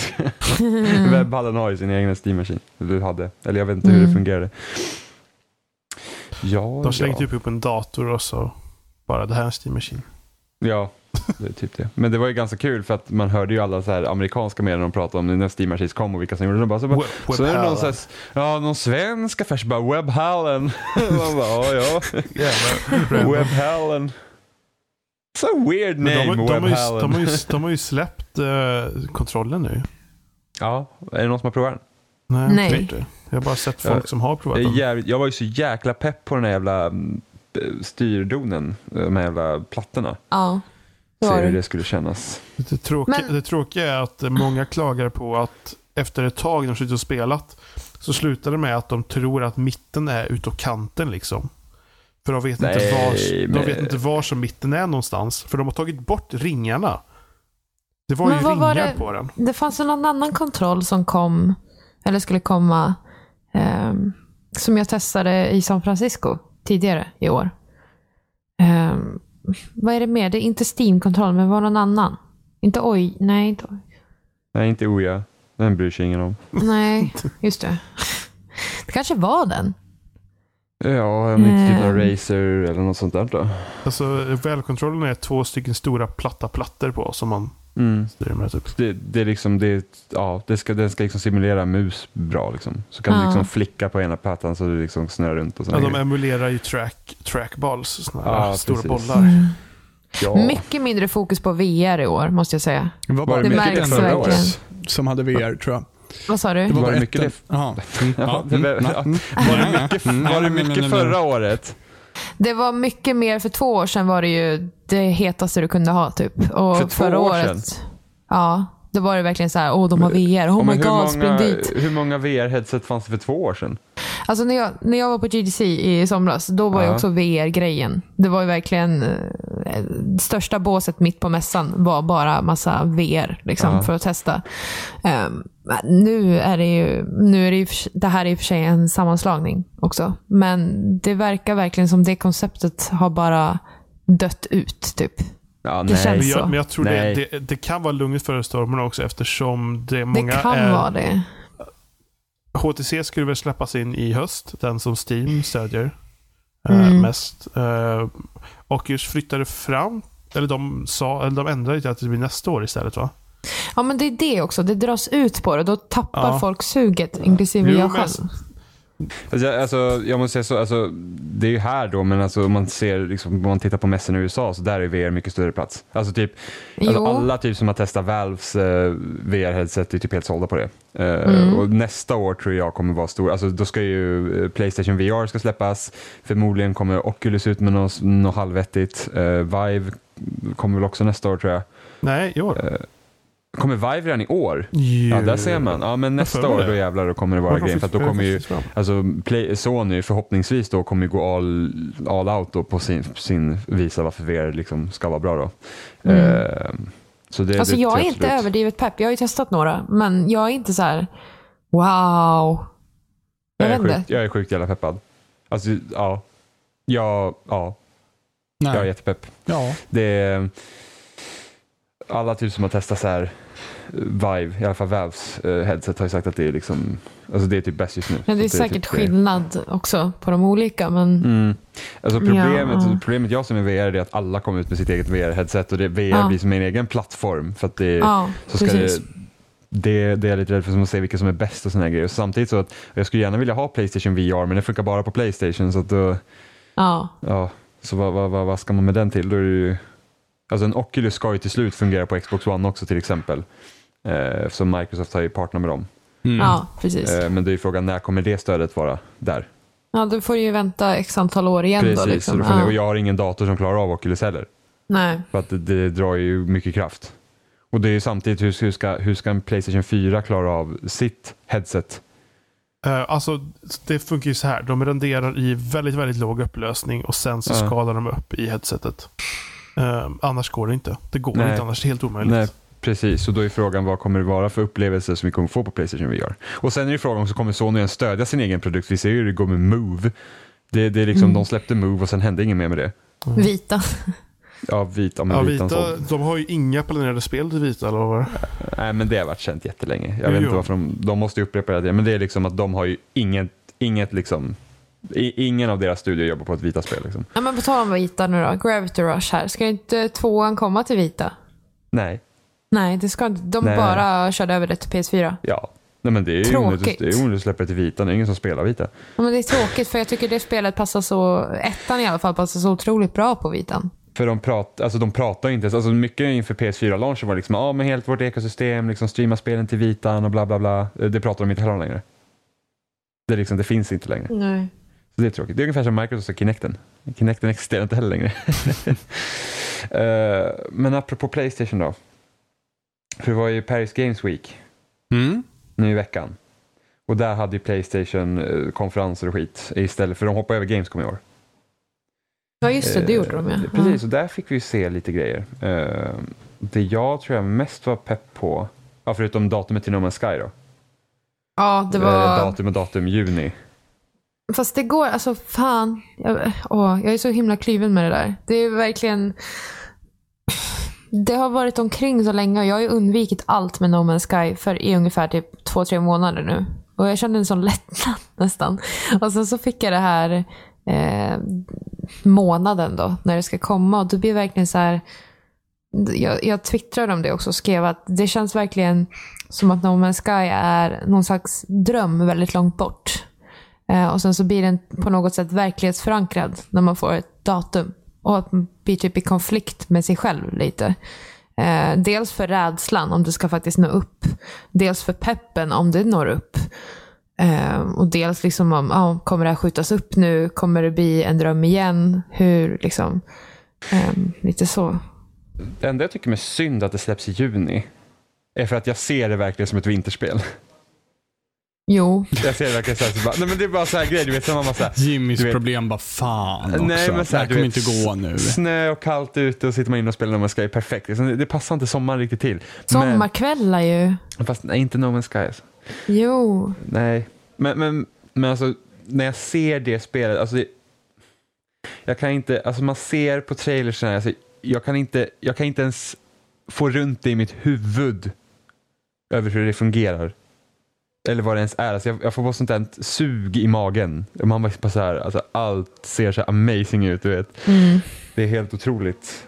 Speaker 3: Mm.
Speaker 4: Webbhallen har ju sin egna Steam Machine. Eller hade. Eller jag vet inte hur det
Speaker 3: Mm.
Speaker 4: fungerade. Ja,
Speaker 1: De slängde
Speaker 4: ja.
Speaker 1: typ upp en dator och så bara det här är en Steam Machine.
Speaker 4: Ja, det är typ det. Men det var ju ganska kul för att man hörde ju alla så här amerikanska medier de pratade om det när Steam Machines kom och vilka som gjorde det. De bara, så bara,
Speaker 1: Web-
Speaker 4: så är det någon,
Speaker 1: webbhallen.
Speaker 4: så här, ja, någon svensk affär som bara Webhallen. man bara, ja, ja.
Speaker 1: Jävlar.
Speaker 4: Webhallen. So weird
Speaker 1: Men de,
Speaker 4: name,
Speaker 1: har- de, har ju, de,
Speaker 4: Webhallen.
Speaker 1: har ju, de har ju släppt eh, kontrollen nu.
Speaker 4: Ja, är det någon som har provat den?
Speaker 1: Nej. jag
Speaker 3: Nej.
Speaker 1: tror inte. Jag har bara sett folk
Speaker 4: Ja.
Speaker 1: som har provat
Speaker 4: Det är
Speaker 1: den.
Speaker 4: jävligt, jag var ju så jäkla pepp på den här jävla mm, styrdonen, de här jävla plattorna.
Speaker 3: Ja, det
Speaker 4: Se
Speaker 3: var
Speaker 4: hur
Speaker 3: det.
Speaker 4: det skulle kännas.
Speaker 1: Det, tråkiga,
Speaker 3: Men-
Speaker 1: det tråkiga är att eh, många klagar på att efter ett tag när de suttit och spelat så slutar det med att de tror att mitten är utåt kanten. liksom. För de vet,
Speaker 4: Nej,
Speaker 1: inte var,
Speaker 4: men-
Speaker 1: de vet inte var som mitten är någonstans. För de har tagit bort ringarna. Det var
Speaker 3: Men
Speaker 1: ju
Speaker 3: vad
Speaker 1: ringar
Speaker 3: var det-
Speaker 1: på den.
Speaker 3: Det fanns ju någon annan kontroll som kom, eller skulle komma, ehm, som jag testade i San Francisco tidigare i år. Ehm, vad är det mer? Det är inte Steam-kontroll, men var någon annan. Inte oj, nej, inte oj.
Speaker 4: Nej, inte Oja. Den bryr sig ingen om.
Speaker 3: Nej, just det. Det kanske var den.
Speaker 4: Ja, om inte typ någon
Speaker 3: Ehm.
Speaker 4: racer eller något sånt där då.
Speaker 1: Alltså, välkontrollen är två stycken stora platta plattor på som man
Speaker 4: Mm.
Speaker 1: styr med. Typ.
Speaker 4: Det, det är liksom, det, ja, det ska, den ska liksom simulera mus bra. Liksom. Så kan du
Speaker 3: Ja.
Speaker 4: liksom flicka på ena plattan så du liksom snurrar runt. Och
Speaker 1: Ja,
Speaker 4: såna
Speaker 1: de
Speaker 4: grejer.
Speaker 1: emulerar ju track, trackballs, såna här
Speaker 4: Ja,
Speaker 1: stora
Speaker 4: precis.
Speaker 1: bollar.
Speaker 4: ja.
Speaker 3: Mm. Mycket mindre fokus på VR i år, måste jag säga.
Speaker 2: Det var bara
Speaker 4: det
Speaker 2: mycket
Speaker 3: märks
Speaker 2: det förra
Speaker 3: verkligen.
Speaker 2: året som hade VR, tror jag.
Speaker 3: Vad sa du?
Speaker 4: Var
Speaker 2: bara
Speaker 4: det mycket
Speaker 2: ett- Jaha. Mm,
Speaker 4: Ja,
Speaker 2: Ja.
Speaker 4: det
Speaker 2: mm,
Speaker 4: var-
Speaker 2: ja,
Speaker 4: ja.
Speaker 2: mm.
Speaker 4: Var det mycket,
Speaker 2: Mm,
Speaker 4: var det
Speaker 2: nej, nej, nej,
Speaker 4: mycket
Speaker 2: nej, nej.
Speaker 4: förra året?
Speaker 3: Oh Det var mycket mer. För två år sedan var det ju det hetaste du kunde ha. typ. Och
Speaker 4: För två
Speaker 3: förra
Speaker 4: år
Speaker 3: året, Ja, då var det verkligen så här, åh de har VR, oh
Speaker 4: Ja, men
Speaker 3: my god,
Speaker 4: hur,
Speaker 3: spring
Speaker 4: många,
Speaker 3: dit.
Speaker 4: hur många VR-headset fanns det för två år sedan?
Speaker 3: Alltså när jag, när jag var på GDC i somras, då var ju
Speaker 4: Ja.
Speaker 3: också VR-grejen. Det var ju verkligen, eh, största båset mitt på mässan var bara massa VR liksom,
Speaker 4: Ja.
Speaker 3: för att testa. Ehm, nu är det ju, nu är det, ju för, sig- det här är i och för sig en sammanslagning också, men det verkar verkligen som det konceptet har bara dött ut typ.
Speaker 4: Ja,
Speaker 3: Det
Speaker 1: Men
Speaker 3: känns-
Speaker 1: jag,
Speaker 3: Så.
Speaker 1: men jag tror det,
Speaker 4: Nej.
Speaker 1: det, det kan vara lugnt före stormen också eftersom det är
Speaker 3: Det
Speaker 1: många...
Speaker 3: kan
Speaker 1: är-
Speaker 3: vara det.
Speaker 1: HTC skulle väl släppas in i höst, den som Steam stödjer eh,
Speaker 3: Mm.
Speaker 1: mest. Eh, och just flyttade fram, eller de, sa, eller de ändrade ju till att det blir nästa år istället va?
Speaker 3: Ja men det är det också, det dras ut på det. Då tappar
Speaker 1: Ja.
Speaker 3: folk suget, inklusive
Speaker 1: Jo,
Speaker 3: jag
Speaker 1: men-
Speaker 3: själv.
Speaker 4: Alltså, jag, alltså, jag måste säga så, alltså, det är ju här då, men alltså, om, man ser, liksom, om man tittar på mässorna i USA så där är VR mycket större plats. Alltså, typ, alltså,
Speaker 3: Jo.
Speaker 4: alla typ som har testat Valves eh, VR-headset är typ helt sålda på det. Eh,
Speaker 3: Mm.
Speaker 4: och nästa år tror jag kommer vara stor. Alltså, då ska ju eh, Playstation VR ska släppas. Förmodligen kommer Oculus ut med något, något halvvettigt. Eh, Vive kommer väl också nästa år tror jag.
Speaker 1: Nej, i år.
Speaker 4: Kommer Vive redan i år? Eh, Ja, där ser man. Ja, men
Speaker 1: för
Speaker 4: nästa
Speaker 1: mig
Speaker 4: år
Speaker 1: det.
Speaker 4: då jävlar då kommer det vara grejen. För att då kommer ju
Speaker 1: Fram.
Speaker 4: Alltså Play, Sony förhoppningsvis då kommer ju gå all, all out då på sin, sin visa varför VR liksom ska vara bra då.
Speaker 3: Mm.
Speaker 4: Eh, så det,
Speaker 3: Alltså
Speaker 4: det
Speaker 3: jag
Speaker 4: tror
Speaker 3: är inte
Speaker 4: absolut.
Speaker 3: överdrivet pepp. Jag har ju testat några, men jag är inte så här wow. Jag
Speaker 4: Jag är,
Speaker 3: vet inte.
Speaker 4: sjukt, jag är sjukt jävla peppad. Alltså ja, ja, ja
Speaker 2: Nej.
Speaker 4: jag är jättepepp.
Speaker 3: Mm.
Speaker 2: ja.
Speaker 4: Det är, mm, alla typ som har testat så här eh, Vive, i alla fall Valves eh, headset har ju sagt att det är liksom, alltså det är typ bäst just nu.
Speaker 3: Men det är
Speaker 4: Så
Speaker 3: säkert
Speaker 4: typ
Speaker 3: skillnad också på de olika. Men
Speaker 4: Mm. Alltså problemet,
Speaker 3: Ja.
Speaker 4: problemet jag ser med VR är att alla kommer ut med sitt eget VR-headset och det, VR
Speaker 3: Ja.
Speaker 4: blir som en egen plattform. För att det,
Speaker 3: ja,
Speaker 4: så ska
Speaker 3: precis.
Speaker 4: det, det, det är jag lite rädd för, som att se vilka som är bäst och såna här grejer. Och samtidigt så att jag skulle gärna vilja ha Playstation VR men det funkar bara på Playstation så att då,
Speaker 3: Ja.
Speaker 4: ja, så vad, vad, vad, vad ska man med den till? Då är det ju, alltså en Oculus ska ju till slut fungera på Xbox One också till exempel. Eh, så Microsoft har ju partner med dem.
Speaker 2: Mm.
Speaker 3: ja, precis.
Speaker 4: Eh, men det är ju frågan när kommer det stödet vara där?
Speaker 3: Ja, då får du ju vänta x antal år igen
Speaker 4: Precis,
Speaker 3: då. Liksom.
Speaker 4: så då får ni-
Speaker 3: Ja.
Speaker 4: och jag har ingen dator som klarar av Oculus heller.
Speaker 3: Nej.
Speaker 4: För att det, det drar ju mycket kraft. Och det är ju samtidigt, hur, hur, ska, hur ska en Playstation 4 klara av sitt headset?
Speaker 1: Eh, Alltså, det funkar ju så här. De renderar i väldigt, väldigt låg upplösning och sen så
Speaker 4: Ja.
Speaker 1: skalar de upp i headsetet. Eh, annars går det inte. Det går
Speaker 4: Nej.
Speaker 1: inte annars. Det är helt omöjligt.
Speaker 4: Nej. Precis, och då är frågan vad kommer det vara för upplevelser som vi kommer få på Playstation VR? Och sen är det frågan om så kommer Sony ens stödja sin egen produkt? Vi ser ju hur det går med Move. Det, det är liksom,
Speaker 3: Mm.
Speaker 4: De släppte Move och sen hände inget mer med det.
Speaker 3: Vita.
Speaker 4: Ja, vita, men
Speaker 1: Ja,
Speaker 4: vitan
Speaker 1: Vita,
Speaker 4: såld.
Speaker 1: de har ju inga planerade spel till Vita, eller vad var det?
Speaker 4: Nej, men det har varit känt jättelänge. Jag
Speaker 1: Jo,
Speaker 4: vet inte
Speaker 1: jo.
Speaker 4: varför de, de måste ju upprepa det. Men det är liksom att de har ju inget, inget liksom, i, ingen av deras studier jobbar på ett vita spel. Liksom.
Speaker 3: Ja, men på tal om vita nu då. Gravity Rush här. Ska inte tvåan komma till vita?
Speaker 4: Nej,
Speaker 3: Nej, det ska inte. De
Speaker 4: Nej.
Speaker 3: bara körde över det till PS4.
Speaker 4: Ja. Nej, men det är ju onödigt
Speaker 3: Tråkigt.
Speaker 4: det är onödigt att släppa till vita. Det är ingen som spelar vita.
Speaker 3: Ja, men det är tråkigt för jag tycker det spelet passar så, ettan i alla fall, passar så otroligt bra på vitan.
Speaker 4: För de, prat, alltså, de pratar ju inte ens. Alltså, mycket inför PS4-launchen var liksom ah, men helt vårt ekosystem, liksom, streama spelen till vitan och bla bla bla. Eh, Det pratar de inte heller om längre. Det, är liksom, det finns inte längre.
Speaker 3: Nej.
Speaker 4: Så det är tråkigt. Det är ungefär som Microsoft och Kinecten. Kinecten existerar inte heller längre. Eh, men apropå Playstation då. För det var ju Paris Games Week
Speaker 2: Mm.
Speaker 4: nu i veckan. Och där hade ju Playstation eh, konferenser och skit istället för de hoppade över Gamescom i år.
Speaker 3: Ja, just det. Det gjorde de
Speaker 4: Eh,
Speaker 3: ja. Mm.
Speaker 4: Precis, och där fick vi se lite grejer. Eh, Det jag tror jag mest var pepp på, ja, förutom datumet till No Man's Sky då.
Speaker 3: Ja, det
Speaker 4: Eh,
Speaker 3: var...
Speaker 4: Datum och datum, juni.
Speaker 3: Fast det går, alltså fan. Jag, åh, jag är så himla kluven med det där. Det är verkligen... Det har varit omkring så länge och jag har ju undvikit allt med No Man's Sky för i ungefär typ två, tre månader nu. Och jag kände en sån lättnad nästan. Och sen så fick jag det här eh, månaden då, när det ska komma. Och det blir verkligen så här... Jag, jag twittrade om det också och skrev att det känns verkligen som att No Man's Sky är någon slags dröm väldigt långt bort. Eh, Och sen så blir den på något sätt verklighetsförankrad när man får ett datum. Och att man blir typ i konflikt med sig själv lite. Eh, Dels för rädslan om det ska faktiskt nå upp. Dels för peppen om det når upp. Eh, Och dels liksom om, ja, kommer det här skjutas upp nu? Kommer det bli en dröm igen? Hur liksom? eh, Lite så.
Speaker 4: Det enda jag tycker är synd att det släpps i juni är för att jag ser det verkligen som ett vinterspel.
Speaker 3: Mm. Jo,
Speaker 4: Jag ser det verkligen så här, så bara, nej men det är bara så här grejer, du vet, som man bara så här,
Speaker 2: Jimmys
Speaker 4: Du vet-
Speaker 2: problem bara fan också.
Speaker 4: Nej, men så här,
Speaker 2: det här
Speaker 4: du
Speaker 2: kommer
Speaker 4: vet-
Speaker 2: inte gå nu.
Speaker 4: snö och kallt ute och sitter man inne och spelar No Man's Sky perfekt. Liksom, Det, det passar inte sommaren riktigt till.
Speaker 3: sommarkvällar ju.
Speaker 4: Men, fast nej, inte No Man's Sky alltså.
Speaker 3: Jo.
Speaker 4: Nej, men, men, men alltså när jag ser det spelet, alltså det, jag kan inte, alltså man ser på trailers, här, alltså, jag, kan inte, jag kan inte ens få runt det i mitt huvud över hur det fungerar. Eller vad det ens är. Alltså jag, jag får bara sånt där sug i magen. Man bara bara så här, alltså allt ser så här amazing ut, du vet.
Speaker 3: Mm.
Speaker 4: Det är helt otroligt.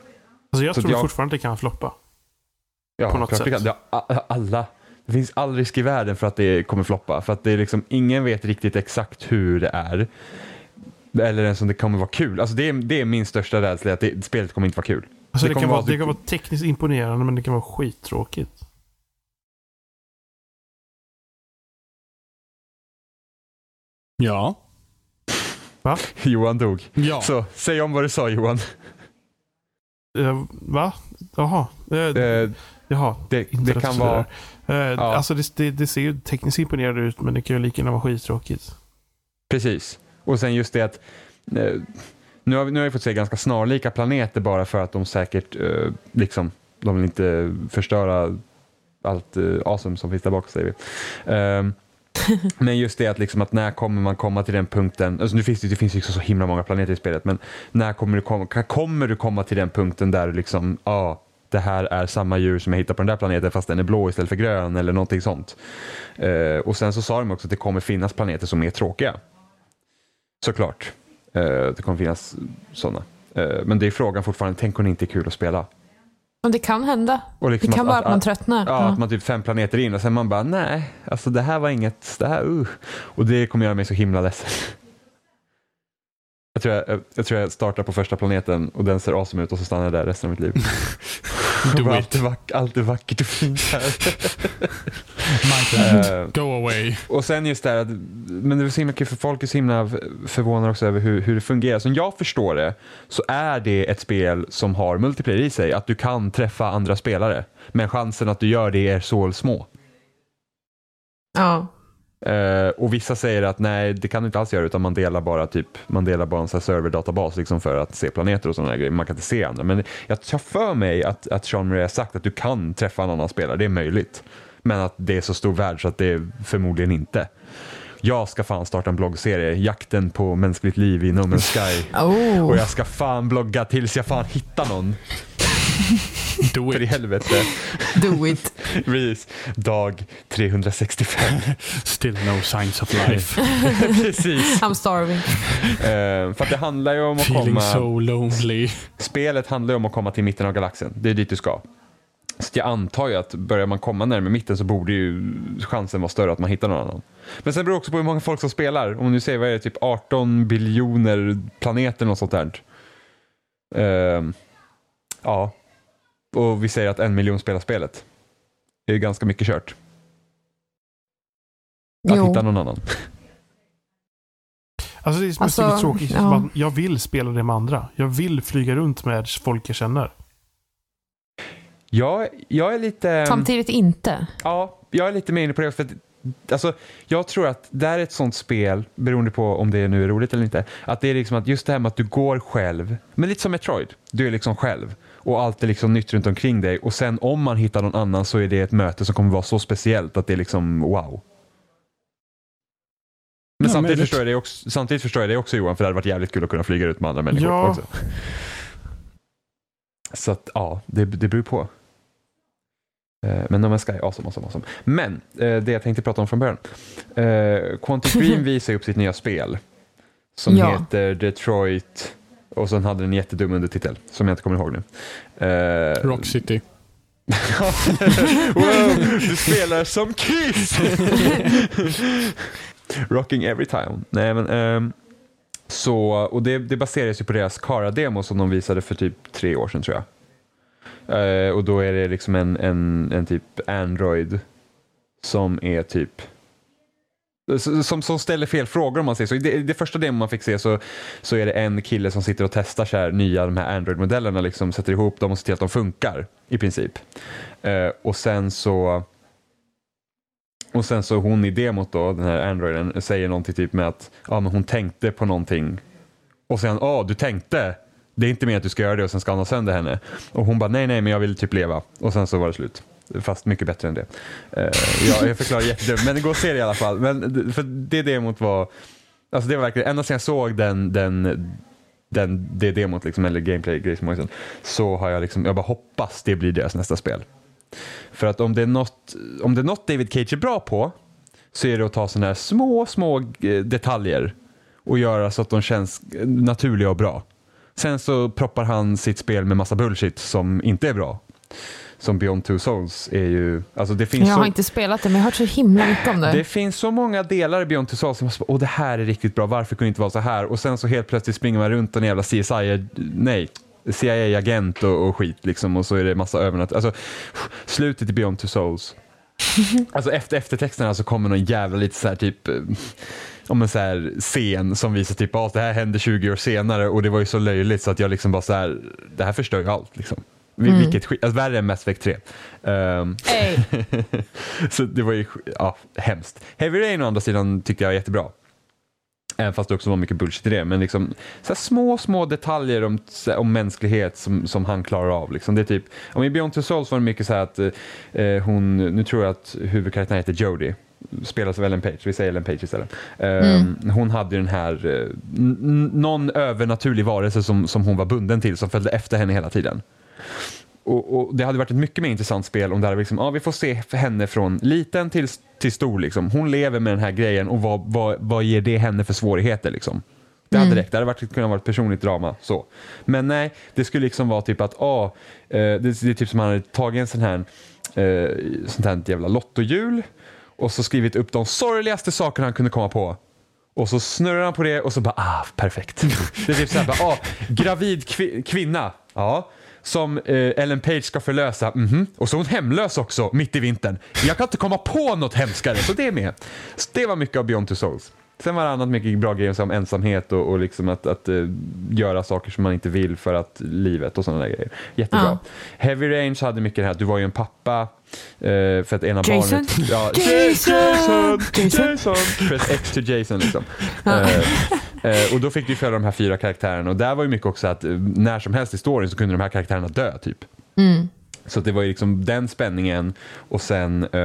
Speaker 1: Alltså jag
Speaker 4: Så
Speaker 1: tror
Speaker 4: jag-
Speaker 1: fortfarande att det kan floppa.
Speaker 4: Ja,
Speaker 1: På något
Speaker 4: klart det
Speaker 1: sätt.
Speaker 4: kan- Ja, a- alla. Det finns all risk i världen för att det kommer floppa. För att det är liksom, ingen vet riktigt exakt hur det är. Eller ens om det kommer vara kul. Alltså det, är, det är min största rädsla, att det, spelet kommer inte vara kul.
Speaker 1: Alltså det,
Speaker 4: kommer
Speaker 1: kan
Speaker 4: vara
Speaker 1: vara, det
Speaker 4: typ-
Speaker 1: kan vara tekniskt imponerande men det kan vara skittråkigt.
Speaker 2: Ja.
Speaker 4: Johan dog.
Speaker 2: Ja.
Speaker 4: Så, säg om vad du sa Johan.
Speaker 1: Eh, va? Jaha. Eh,
Speaker 4: Eh,
Speaker 1: jaha.
Speaker 4: det,
Speaker 1: Inte
Speaker 4: det kan
Speaker 1: rätt
Speaker 4: vara...
Speaker 1: Eh,
Speaker 4: Ja.
Speaker 1: Alltså det, det, det ser ju tekniskt imponerande ut men det kan ju lika gärna vara skittråkigt.
Speaker 4: Precis. Och sen just det att eh, nu har, vi, nu har vi fått se ganska snarlika planeter bara för att de säkert eh, liksom, de vill inte förstöra allt eh, awesome som finns där bakom säger vi. Ehm, men just det att, liksom, att när kommer man komma till den punkten, alltså nu finns det, det finns ju liksom så himla många planeter i spelet, men när kommer du komma, ka- kommer du komma till den punkten där du liksom, ja, ah, det här är samma djur som jag hittar på den där planeten fast den är blå istället för grön eller någonting sånt. Eh, och sen så sa de också att det kommer finnas planeter som är tråkiga. Såklart. Eh, det kommer finnas sådana. Eh, men det är frågan fortfarande, tänk om det inte är kul att spela?
Speaker 3: Men det kan hända.
Speaker 4: Och
Speaker 3: Det
Speaker 4: liksom
Speaker 3: kan vara att man tröttnar.
Speaker 4: Ja,
Speaker 3: Ja.
Speaker 4: att man typ fem planeter in och sen man bara nej, alltså det här var inget, det här uh. Och det kommer göra mig så himla ledsen. Jag tror jag, jag, jag tror jag startar på första planeten och den ser awesome ut och så stannar jag där resten av mitt liv.
Speaker 2: Do
Speaker 4: Bara,
Speaker 2: it.
Speaker 4: allt, är vack, allt är vackert och fint här.
Speaker 2: Minecraft.
Speaker 4: Eh,
Speaker 2: Go away.
Speaker 4: och sen just det här att, men det är så himla kul för folk är så himla förvånade också över hur, hur det fungerar. Som jag förstår det så är det ett spel som har multiplayer i sig, att du kan träffa andra spelare. Men chansen att du gör det är så små.
Speaker 3: Ja.
Speaker 4: Eh, och vissa säger att nej, det kan du inte alls göra utan man delar bara typ, man delar bara en sån här serverdatabas liksom för att se planeter och sådana grejer. Man kan inte se andra. Men jag tar för mig att, att Jean-Marie har sagt att du kan träffa en annan spelare, det är möjligt. Men att det är så stor värld så att det är förmodligen inte. Jag ska fan starta en bloggserie, Jakten på mänskligt liv i No Man's Sky. Och
Speaker 3: Oh.
Speaker 4: jag ska fan blogga tills jag fan hittar någon.
Speaker 2: Do
Speaker 4: För i
Speaker 2: it.
Speaker 4: helvete.
Speaker 3: Do it.
Speaker 4: Precis. Dag 365.
Speaker 2: Still no signs of life.
Speaker 4: Precis.
Speaker 3: I'm starving.
Speaker 4: Eh, för att det handlar ju om att
Speaker 2: Feeling
Speaker 4: komma...
Speaker 2: so lonely.
Speaker 4: Spelet handlar ju om att komma till mitten av galaxen. Det är dit du ska. Så jag antar ju att börjar man komma närmare mitten så borde ju chansen vara större att man hittar någon annan. Men sen beror det också på hur många folk som spelar. Om du säger vad är det, typ 18 biljoner planeter och sånt där. Ehm, ja. Och vi säger att en miljon spelar spelet. Det är ju ganska mycket kört. Att
Speaker 3: Jo.
Speaker 4: hitta någon annan.
Speaker 1: Alltså det är som
Speaker 3: Alltså,
Speaker 1: är så tråkigt.
Speaker 3: ja.
Speaker 1: Man- Jag vill spela det med andra. Jag vill flyga runt med folk jag känner.
Speaker 4: Jag, jag är lite...
Speaker 3: Samtidigt inte.
Speaker 4: Ja, jag är lite mer inne på det. också, För att, alltså, jag tror att det här är ett sånt spel, beroende på om det nu är roligt eller inte, att det är liksom att just det här med att du går själv, men lite som Metroid, du är liksom själv och allt är liksom nytt runt omkring dig och sen om man hittar någon annan så är det ett möte som kommer vara så speciellt att det är liksom wow. Men
Speaker 2: Ja,
Speaker 4: samtidigt,
Speaker 2: möjligt.
Speaker 4: förstår jag det också, samtidigt förstår jag det också Johan, för det hade varit jävligt kul att kunna flyga ut med andra människor
Speaker 1: Ja.
Speaker 4: också. Så att ja, det, det beror på. Eh, Men No Man's Sky, awesome, awesome, awesome. Men eh, det jag tänkte prata om från början. Eh, Quantum Dream visar ju upp sitt nya spel som
Speaker 3: Ja.
Speaker 4: heter Detroit och sen hade den en jättedum undertitel som jag inte kommer ihåg nu. Eh,
Speaker 2: Rock City.
Speaker 4: wow, du spelar som Kiss! Rocking every time. Nej, men, ehm, så, och det, det baseras ju på deras Kara-demo som de visade för typ tre år sedan tror jag. Eh, och då är det liksom en, en, en typ Android som är typ s- som, som ställer fel frågor om man säger så. I det, i det första demon man fick se så, så är det en kille som sitter och testar så här nya de här Android-modellerna, liksom, sätter ihop dem och ser till att de funkar i princip. Eh, och sen så och sen så hon i demot då, den här Androiden, säger någonting typ med att ja, men hon tänkte på någonting. Och sen, ja du tänkte. Det är inte mer att du ska göra det och sen ska han ha sönder henne. Och hon bara, nej nej men jag vill typ leva. Och sen så var det slut. Fast mycket bättre än det. Eh, ja, jag förklarar jättedumt, men det går att se det i alla fall. Men, d- för det demot var, alltså det var verkligen, ända sedan jag såg den, den, den, det demot liksom, eller gameplay grejsmåsen, så har jag liksom, jag bara hoppas det blir deras nästa spel. För att om det är något, om det är något David Cage är bra på så är det att ta sådana här små, små eh, detaljer och göra så att de känns eh, naturliga och bra. Sen så proppar han sitt spel med massa bullshit som inte är bra. som Beyond Two Souls är ju... Alltså det finns
Speaker 3: Jag
Speaker 4: så,
Speaker 3: har inte spelat det, men jag har hört så himla mycket om det.
Speaker 4: det finns så många delar i Beyond Two Souls som man bara, åh det här är riktigt bra, varför kunde det inte vara så här? Och sen så helt plötsligt springer man runt en jävla CSI, nej, CIA-agent och, och skit liksom och så är det massa övernat. Alltså slutet i Beyond Two Souls. Alltså efter eftertexterna så kommer någon jävla lite så här typ eh, om en så här scen som visar typ att det här hände 20 år senare och det var ju så löjligt så att jag liksom bara så här, det här förstör ju allt liksom. Vi-
Speaker 3: Mm.
Speaker 4: Vilket skit, alltså värre än Mass Effect 3. Ehm,
Speaker 3: Ey,
Speaker 4: så det var ju ja, hemskt. Heavy Rain å andra sidan tycker jag är jättebra. Även fast det också var mycket bullshit i det. Men liksom, så här små, små detaljer om, om mänsklighet som, som han klarar av. Liksom. Det är typ, om I Beyond Two Souls var det mycket så här att eh, hon, nu tror jag att huvudkaraktären heter Jodie, spelas av Ellen Page, vi säger Ellen Page istället. Eh, Hon hade ju den här, eh, n- n- någon övernaturlig varelse som, som hon var bunden till som följde efter henne hela tiden. Och, och Det hade varit ett mycket mer intressant spel om det hade varit liksom, ja, vi får se henne från liten till, till stor. Liksom. Hon lever med den här grejen och vad, vad, vad ger det henne för svårigheter? Liksom? Det hade räckt, det hade varit, kunnat vara ett personligt drama. Så. Men nej, det skulle liksom vara typ att, ja, eh, det, det är typ som man hade tagit en sån här, eh, sånt här jävla lottohjul och så skrivit upp de sorgligaste sakerna han kunde komma på. Och så snurrar han på det och så bara, ah, perfekt. Det är typ såhär, bara, ah, gravid kvi- kvinna, ja, som eh, Ellen Page ska förlösa, mhm. Och så är hon hemlös också, mitt i vintern. Jag kan inte komma på något hemskare, så det är med. Så det var mycket av Beyond Two Souls. Sen var det annat mycket bra grejer som ensamhet och, och liksom att, att eh, göra saker som man inte vill för att livet och sådana där grejer. Jättebra.
Speaker 3: Ja.
Speaker 4: Heavy Range hade mycket det här, du var ju en pappa. eh, för att ena
Speaker 3: Jason?
Speaker 4: barnet... Ja,
Speaker 3: Jason!
Speaker 4: Jason!
Speaker 3: Jason!
Speaker 4: Jason! Press X to Jason liksom.
Speaker 3: Ja.
Speaker 4: Eh, eh, och då fick du följa de här fyra karaktärerna och där var ju mycket också att eh, när som helst i storyn så kunde de här karaktärerna dö typ.
Speaker 3: Mm.
Speaker 4: Så att det var ju liksom den spänningen och sen eh,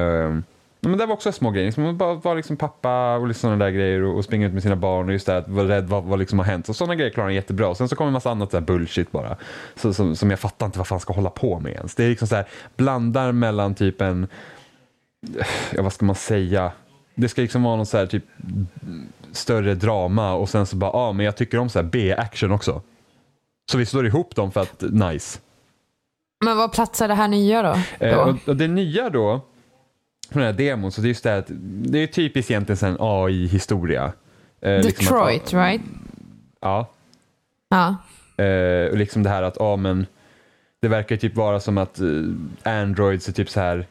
Speaker 4: ja, men det var också små grejer. Liksom, man bara vara liksom pappa och liksom sådana där grejer och, och springa ut med sina barn och just det här att vara rädd vad, vad liksom har hänt. Så sådana grejer klarar han jättebra. Och sen så kommer en massa annat så här bullshit bara. Så, som, som jag fattar inte vad fan ska hålla på med ens. Det är liksom så här blandar mellan typ en, ja eh, vad ska man säga? Det ska liksom vara någon så här typ större drama och sen så bara, ja ah, men jag tycker om så här B-action också. Så vi slår ihop dem för att nice.
Speaker 3: Men vad platsar det här nya då?
Speaker 4: Eh,
Speaker 3: då?
Speaker 4: och, och det nya då, från den här demon, så det är just det här att det är typiskt egentligen så här en AI-historia. Eh, liksom att-
Speaker 3: Detroit, right?
Speaker 4: ja,
Speaker 3: Ja.
Speaker 4: Eh, och liksom det här att, ja men, det verkar ju typ vara som att eh, Androids är typ så här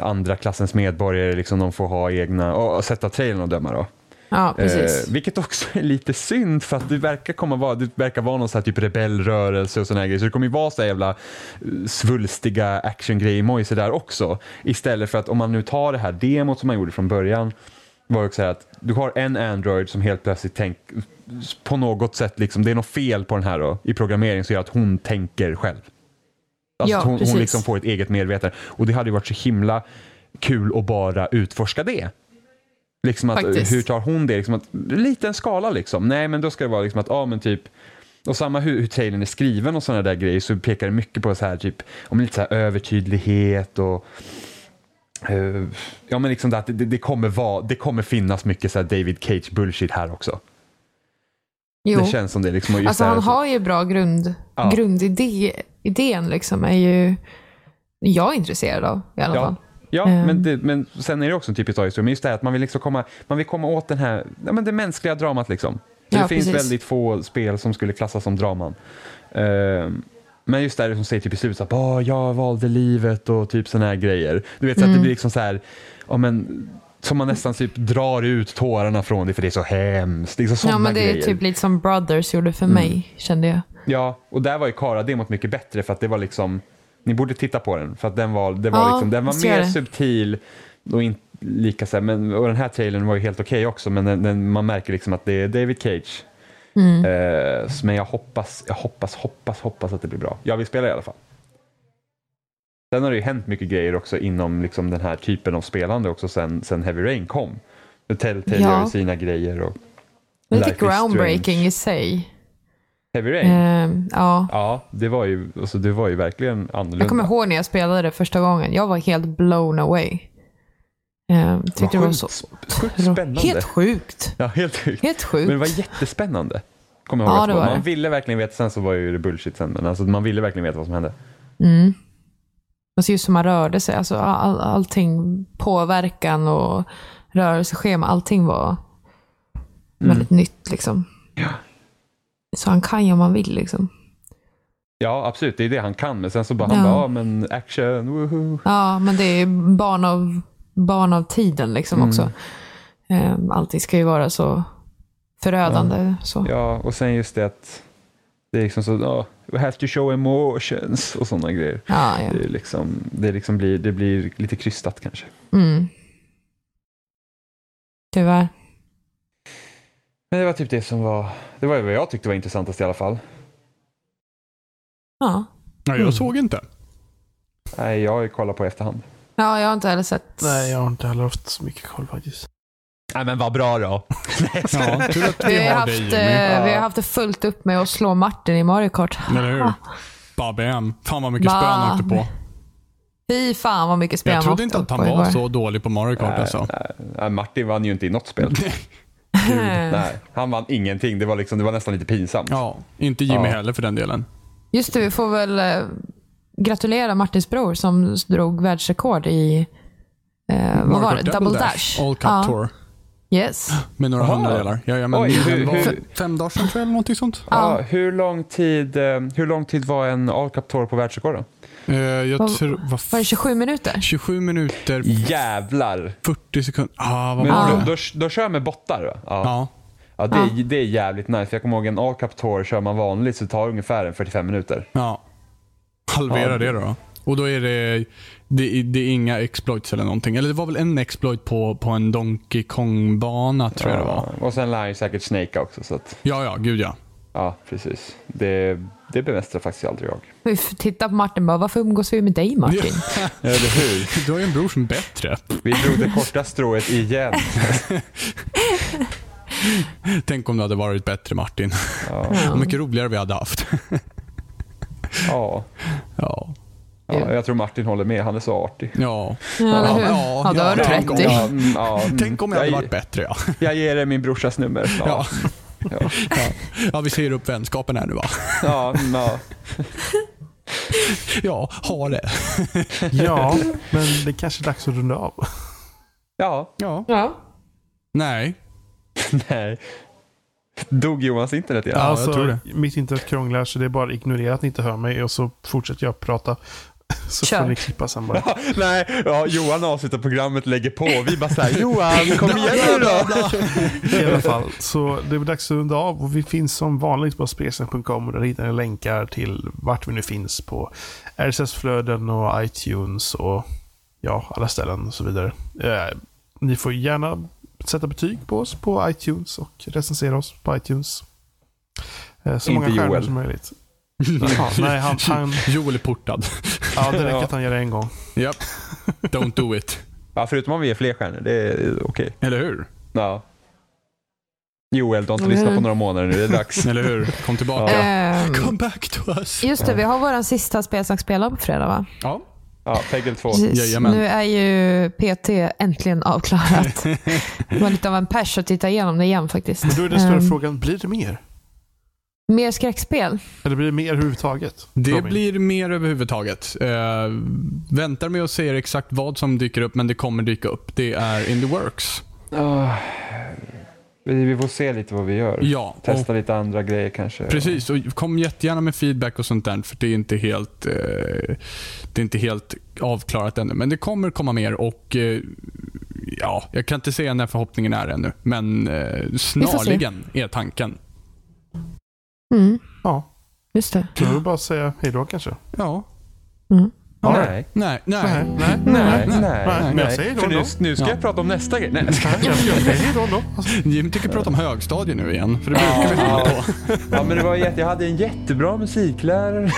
Speaker 4: andra klassens medborgare, liksom de får ha egna, och, och sätta trailern och döma då.
Speaker 3: ja, precis.
Speaker 4: Eh, vilket också är lite synd för att det verkar, komma vara, det verkar vara någon så här typ rebellrörelse och sådana grejer. Så det kommer ju vara så här jävla eh, svulstiga actiongrejer där också. Istället för att om man nu tar det här demot som man gjorde från början var ju också så här att du har en Android som helt plötsligt tänk, på något sätt, liksom, det är något fel på den här då, i programmering som gör att hon tänker själv. Alltså
Speaker 3: Ja,
Speaker 4: att hon, hon
Speaker 3: precis.
Speaker 4: liksom får ett eget medvetande. Och det hade ju varit så himla kul att bara utforska det. Liksom att,
Speaker 3: Faktiskt.
Speaker 4: hur tar hon det? Liksom att, liten skala liksom. Nej, men då ska det vara liksom att, ja men typ, och samma hur, hur trailern är skriven och sådana där grejer så pekar det mycket på så här typ, om lite så här övertydlighet och eh, ja men liksom det, att det, det, kommer vara, det kommer finnas mycket så här David Cage bullshit här också.
Speaker 3: jo.
Speaker 4: Det känns som det liksom. och just
Speaker 3: Alltså
Speaker 4: det här
Speaker 3: han
Speaker 4: så-
Speaker 3: har ju bra grund,
Speaker 4: Ja.
Speaker 3: grundidé. Idén liksom är ju jag är intresserad av i alla
Speaker 4: Ja,
Speaker 3: fall.
Speaker 4: ja
Speaker 3: Ehm.
Speaker 4: men, det, men sen är det också en typisk AI-historia. Men just det här att man vill, liksom komma, man vill komma åt den här, ja, men det mänskliga dramat. Liksom. För
Speaker 3: Ja,
Speaker 4: det finns
Speaker 3: precis.
Speaker 4: väldigt få spel som skulle klassas som draman. Ehm, men just det här som säger typ i slutet, så här, "Åh, jag valde livet och typ sådana här grejer. Du vet, så
Speaker 3: Mm.
Speaker 4: att det blir liksom så här, ja, men, som man nästan typ drar ut tårarna från det för det är så hemskt. Liksom, såna
Speaker 3: Ja, men det är
Speaker 4: grejer. Mm.
Speaker 3: typ lite som Brothers gjorde för mig, kände jag.
Speaker 4: Ja, och där var ju Kara-demot mycket bättre för att det var liksom, ni borde titta på den för att den var, det var,
Speaker 3: Ja,
Speaker 4: liksom, den var
Speaker 3: jag ser
Speaker 4: mer
Speaker 3: det.
Speaker 4: subtil och inte lika så här, men, och den här trailern var ju helt okej också men den, den, man märker liksom att det är David Cage.
Speaker 3: Mm.
Speaker 4: Eh, s- men jag hoppas, jag hoppas, hoppas, hoppas att det blir bra. Jag vill spela i alla fall. Sen har det ju hänt mycket grejer också inom liksom den här typen av spelande också sen, sen Heavy Rain kom. Telltale
Speaker 3: Ja.
Speaker 4: gör ju sina grejer och
Speaker 3: Lite
Speaker 4: Life is Strange.
Speaker 3: groundbreaking i sig.
Speaker 4: Heavy Rain.
Speaker 3: Ehm, ja.
Speaker 4: Ja, det var ju, alltså, det var ju verkligen annorlunda.
Speaker 3: Jag kommer ihåg när jag spelade det första gången. Jag var helt blown away. Ehm, tyckte det var så
Speaker 4: sjukt spännande.
Speaker 3: Helt sjukt.
Speaker 4: Ja, helt sjukt.
Speaker 3: Helt sjukt.
Speaker 4: Men det var jättespännande. Kommer jag
Speaker 3: Ja,
Speaker 4: ihåg att
Speaker 3: det
Speaker 4: det var.
Speaker 3: var
Speaker 4: Man
Speaker 3: det.
Speaker 4: ville verkligen veta, sen så var ju det bullshit sen, men alltså, man ville verkligen veta vad som hände.
Speaker 3: Mm. Man ser just hur man rörde sig. Alltså all, allting, påverkan och rörelseschema, allting var väldigt nytt. Liksom.
Speaker 4: Mm. Ja.
Speaker 3: Så han kan ju om han vill. Liksom.
Speaker 4: Ja, absolut. Det är det han kan. Men sen så bara,
Speaker 3: Ja.
Speaker 4: han bara, ja men action, woho.
Speaker 3: Ja, men det är barn av, barn av tiden liksom
Speaker 4: Mm.
Speaker 3: också. Ehm, Allting ska ju vara så förödande. Så.
Speaker 4: Ja, och sen just det att det är liksom så, ja, we have to show emotions och sådana grejer.
Speaker 3: Ja, ja.
Speaker 4: Det, är liksom, det, liksom blir, det blir lite krystat kanske.
Speaker 3: Mm. Tyvärr.
Speaker 4: Men det var typ det som var, det var ju vad jag tyckte var intressantast i alla fall.
Speaker 3: Ja.
Speaker 2: Nej, jag
Speaker 1: Mm.
Speaker 2: såg inte.
Speaker 4: Nej, jag har ju kollat på i efterhand.
Speaker 3: ja, jag har inte heller sett.
Speaker 1: Nej, jag har inte heller haft så mycket koll faktiskt.
Speaker 4: Nej men vad bra då. Nej, jag skojar.
Speaker 2: Ja, tur att
Speaker 3: Vi
Speaker 2: vi
Speaker 3: har,
Speaker 2: har
Speaker 3: haft,
Speaker 2: dig Jimmy.
Speaker 3: eh, vi har
Speaker 4: Ja.
Speaker 3: haft det fullt upp med att slå Martin i Mario Kart.
Speaker 2: Eller hur? Babem. Fan vad mycket spön han åkte på.
Speaker 3: Fy fan vad mycket spel
Speaker 2: Jag
Speaker 3: han
Speaker 2: trodde
Speaker 3: åkte
Speaker 2: inte att
Speaker 3: upp
Speaker 2: han
Speaker 3: på
Speaker 2: var
Speaker 3: igår.
Speaker 2: så dålig på Mario Kart
Speaker 4: Nej,
Speaker 2: alltså.
Speaker 4: nej, nej, Eh, Martin vann ju inte i något spel. Nej, han vann ingenting. Det var, liksom, det var nästan lite pinsamt.
Speaker 2: Eh. Ja, inte Jimmy
Speaker 4: Ja.
Speaker 2: heller för den delen.
Speaker 3: Just det, vi får väl eh, gratulera Martins bror som drog världsrekord i eh, vad
Speaker 2: Mario
Speaker 3: var det?
Speaker 2: Kart
Speaker 3: Double Dash.
Speaker 2: All Cup
Speaker 3: Ja,
Speaker 2: Tour.
Speaker 3: Yes.
Speaker 2: Med några
Speaker 4: Aha.
Speaker 2: hundradelar. Ja, ja, men
Speaker 4: Oj, hur-
Speaker 2: den var
Speaker 4: hur-
Speaker 2: fem dagar sedan tror jag, eller någonting sånt.
Speaker 4: Ja,
Speaker 3: Ja.
Speaker 4: Ah, hur, lång tid, eh, hur lång tid var en All Cup Tour på världsrekorden?
Speaker 2: Eh, jag
Speaker 3: Vad-
Speaker 2: tror... Vad
Speaker 3: Var det
Speaker 2: f-
Speaker 3: 27 minuter?
Speaker 2: 27 minuter,
Speaker 4: Jävlar!
Speaker 2: 40 sekunder. Ah, vad
Speaker 4: Men
Speaker 2: bra.
Speaker 4: då, då, då kör jag med bottar va? Ja.
Speaker 2: Ja.
Speaker 4: ja det, är, det är jävligt nice. För jag kommer ihåg en All Cup Tour kör man vanligt så tar det ungefär en 45 minuter.
Speaker 2: ja. Halvera
Speaker 4: Ja.
Speaker 2: det då. Och då är det, det, är- det är inga exploits eller någonting. Eller det var väl en exploit på, på en Donkey Kong-bana tror jag det var.
Speaker 4: Ja, Och sen lär ju säkert Snake också. Så att,
Speaker 2: Ja, ja, gud ja.
Speaker 4: ja, precis. Det, det bemästrar faktiskt aldrig jag.
Speaker 3: Vi f- tittar på Martin och bara, varför umgås vi med dig Martin?
Speaker 4: Eller hur?
Speaker 2: Du har ju en bror som är bättre.
Speaker 4: Vi drog det korta strået igen.
Speaker 2: Tänk om det hade varit bättre Martin.
Speaker 4: Ja,
Speaker 3: Ja.
Speaker 2: Vad mycket roligare vi hade haft.
Speaker 4: ja,
Speaker 2: Ja.
Speaker 4: ja, jag tror Martin håller med. Han är så artig.
Speaker 2: Ja.
Speaker 3: Ja, eller hur?
Speaker 2: Ja,
Speaker 3: Ja, då
Speaker 2: ja,
Speaker 3: har du
Speaker 2: tänk
Speaker 3: rätt
Speaker 2: om-
Speaker 3: i.
Speaker 4: Ja, mm, ja, mm.
Speaker 2: Tänk om jag hade
Speaker 4: jag,
Speaker 2: varit bättre ja.
Speaker 4: jag ger dig min brorsas nummer.
Speaker 2: Ja.
Speaker 4: Ja, ja.
Speaker 2: Ja. ja, vi säger upp vänskapen här nu va?
Speaker 4: ja, mm, ja.
Speaker 2: Ja, ha det.
Speaker 1: Ja, men det är kanske är dags att runda av.
Speaker 4: ja.
Speaker 2: Ja.
Speaker 3: Ja.
Speaker 2: Nej.
Speaker 4: nej. Dog Johans internet igen?
Speaker 2: Ja, jag tror det.
Speaker 1: Alltså, Mitt internet krånglar så det är bara att ignorera att ni inte hör mig och så fortsätter jag prata. Så
Speaker 3: Kör.
Speaker 1: får ni klippa sen bara.
Speaker 4: Nej, ja, Johan avslutar programmet, lägger på och vi bara såhär Johan kom igen nu då.
Speaker 1: I alla fall. Så det är väl dags att runda av. Och vi finns som vanligt på spelsen.com och där hittar ni länkar till vart vi nu finns på RSS-flöden och iTunes och ja, alla ställen och så vidare. Eh, ni får gärna sätta betyg på oss på iTunes och recensera oss på iTunes. Eh, så
Speaker 4: Inte
Speaker 1: många stjärnor
Speaker 4: Joel.
Speaker 1: som möjligt. Jaha, nej, han, han,
Speaker 2: Joel är portad.
Speaker 1: ja, det räcker att han gör det en gång.
Speaker 2: Japp. Don't do it.
Speaker 4: Ja, förutom om vi är fler stjärnor, det är okej.
Speaker 2: Eller hur?
Speaker 4: Ja. Joel, du har inte lyssnat på några månader nu, det är dags.
Speaker 2: Eller hur? Kom tillbaka.
Speaker 4: Ja.
Speaker 3: Ehm,
Speaker 2: Come back to us.
Speaker 3: just det, vi har vår sista spelsnackspelare på fredag va?
Speaker 2: Ja.
Speaker 4: Ja, Peggle 2.
Speaker 3: Precis.
Speaker 2: Jajamän.
Speaker 3: Nu är ju PT äntligen avklarat. Det var lite av en pers att titta igenom det igen faktiskt.
Speaker 1: Men då är den större
Speaker 3: Ehm,
Speaker 1: frågan, blir det mer?
Speaker 3: Mer skräckspel?
Speaker 1: Eller blir det mer överhuvudtaget?
Speaker 2: Det
Speaker 1: Robin?
Speaker 2: blir mer överhuvudtaget. Eh, väntar med att säga exakt vad som dyker upp, men det kommer dyka upp. Det är in the works.
Speaker 4: Ah, vi vi får se lite vad vi gör.
Speaker 2: Ja, och
Speaker 4: Testa lite andra grejer kanske.
Speaker 2: Precis, och kom jättegärna med feedback och sånt där, för det är inte helt, eh, det är inte helt avklarat ännu. Men det kommer komma mer och eh, ja, jag kan inte säga när förhoppningen är ännu, men eh, snarligen är tanken.
Speaker 3: Mm,
Speaker 1: Ja,
Speaker 3: just det.
Speaker 1: då är det bara att säga hej då kanske.
Speaker 2: Ja.
Speaker 3: Mm.
Speaker 2: Ja.
Speaker 4: Nej.
Speaker 2: Nej, nej.
Speaker 1: Nej, nej.
Speaker 4: Nej, nej, nej.
Speaker 1: men jag säger då
Speaker 4: För nu,
Speaker 1: då.
Speaker 4: nu ska
Speaker 2: Ja.
Speaker 4: jag prata om nästa grej. Nej,
Speaker 1: Jag säger då Alltså, då.
Speaker 2: Jim tycker prata om högstadie nu igen, för det brukar vi hålla på.
Speaker 4: Ja, men det var jätte, jag hade en jättebra musiklärare.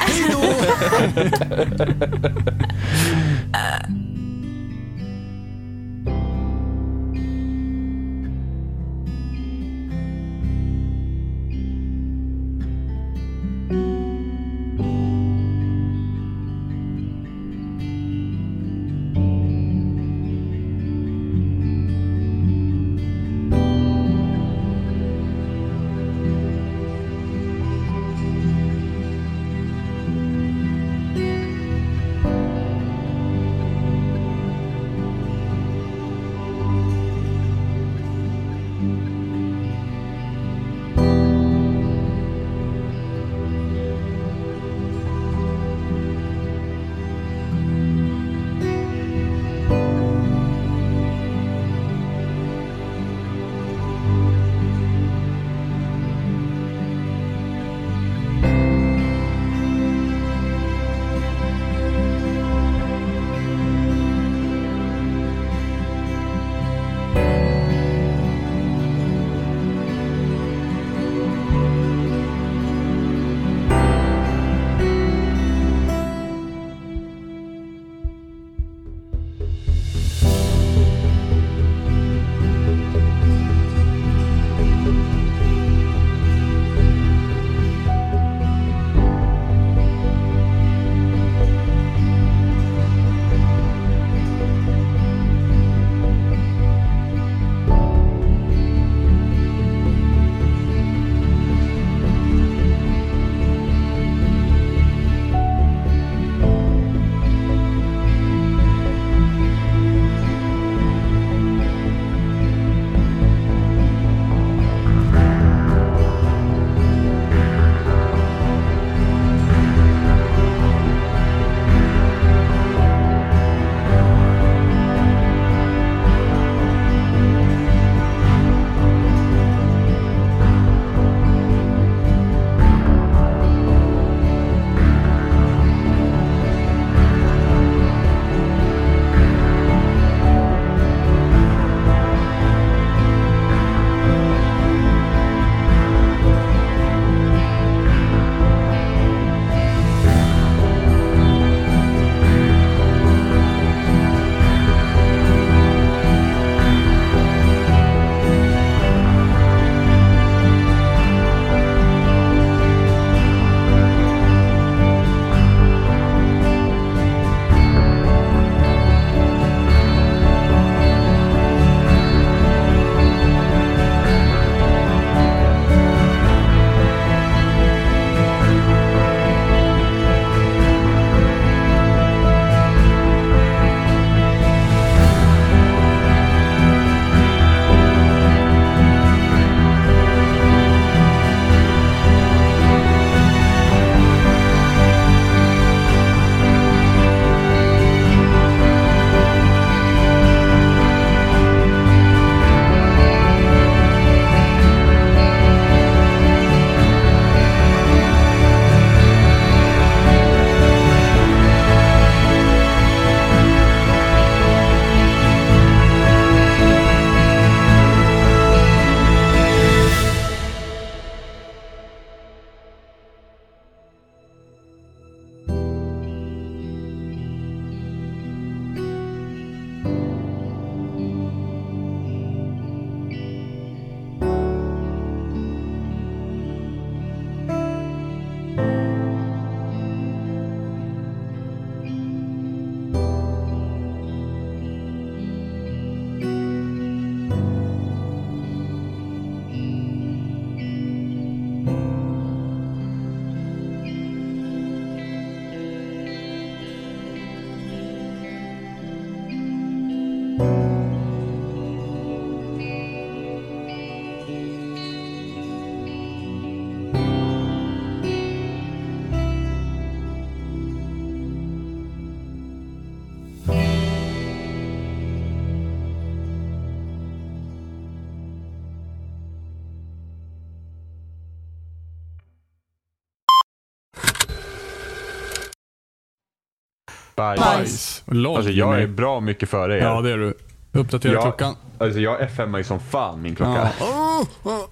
Speaker 4: Bajs.
Speaker 2: Bajs. LOL.
Speaker 4: Alltså jag är
Speaker 2: med.
Speaker 4: bra mycket före er.
Speaker 2: Ja, det är du. Uppdatera
Speaker 4: jag,
Speaker 2: klockan.
Speaker 4: Alltså jag FMar ju som fan min klocka.
Speaker 2: Ja. Oh, oh.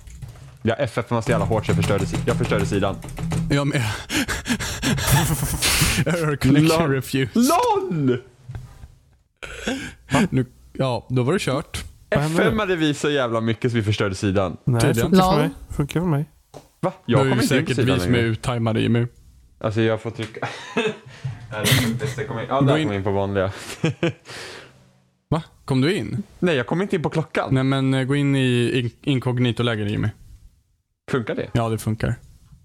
Speaker 4: Jag FFMar så jävla hårt så jag förstörde, si- jag förstörde sidan.
Speaker 2: Jag med. Error collection
Speaker 4: Lol.
Speaker 2: refuse.
Speaker 4: LOL!
Speaker 2: Nu, ja, då var det kört.
Speaker 1: händer nu?
Speaker 4: FMade vi så jävla mycket så vi förstörde sidan.
Speaker 1: Nej, det
Speaker 2: Tydligen.
Speaker 1: funkar för
Speaker 3: Lol.
Speaker 1: mig. Funkar för mig.
Speaker 4: Va?
Speaker 2: Jag
Speaker 4: Jag
Speaker 2: det är ju
Speaker 4: kommer inte in på
Speaker 2: säkert vi
Speaker 4: sidan
Speaker 2: som är
Speaker 4: längre.
Speaker 2: uttajmade Jimmy.
Speaker 4: Alltså jag får trycka... Nej, det- det- det kommer in- Ja,
Speaker 2: Gå
Speaker 4: där
Speaker 2: in.
Speaker 4: kom jag in på vanliga.
Speaker 2: Va? Kom du in?
Speaker 4: Nej, jag kommer inte in på klockan.
Speaker 2: Nej men eh, gå in i in- inkognito-läge Jimmy.
Speaker 4: Funkar det?
Speaker 2: Ja, det funkar.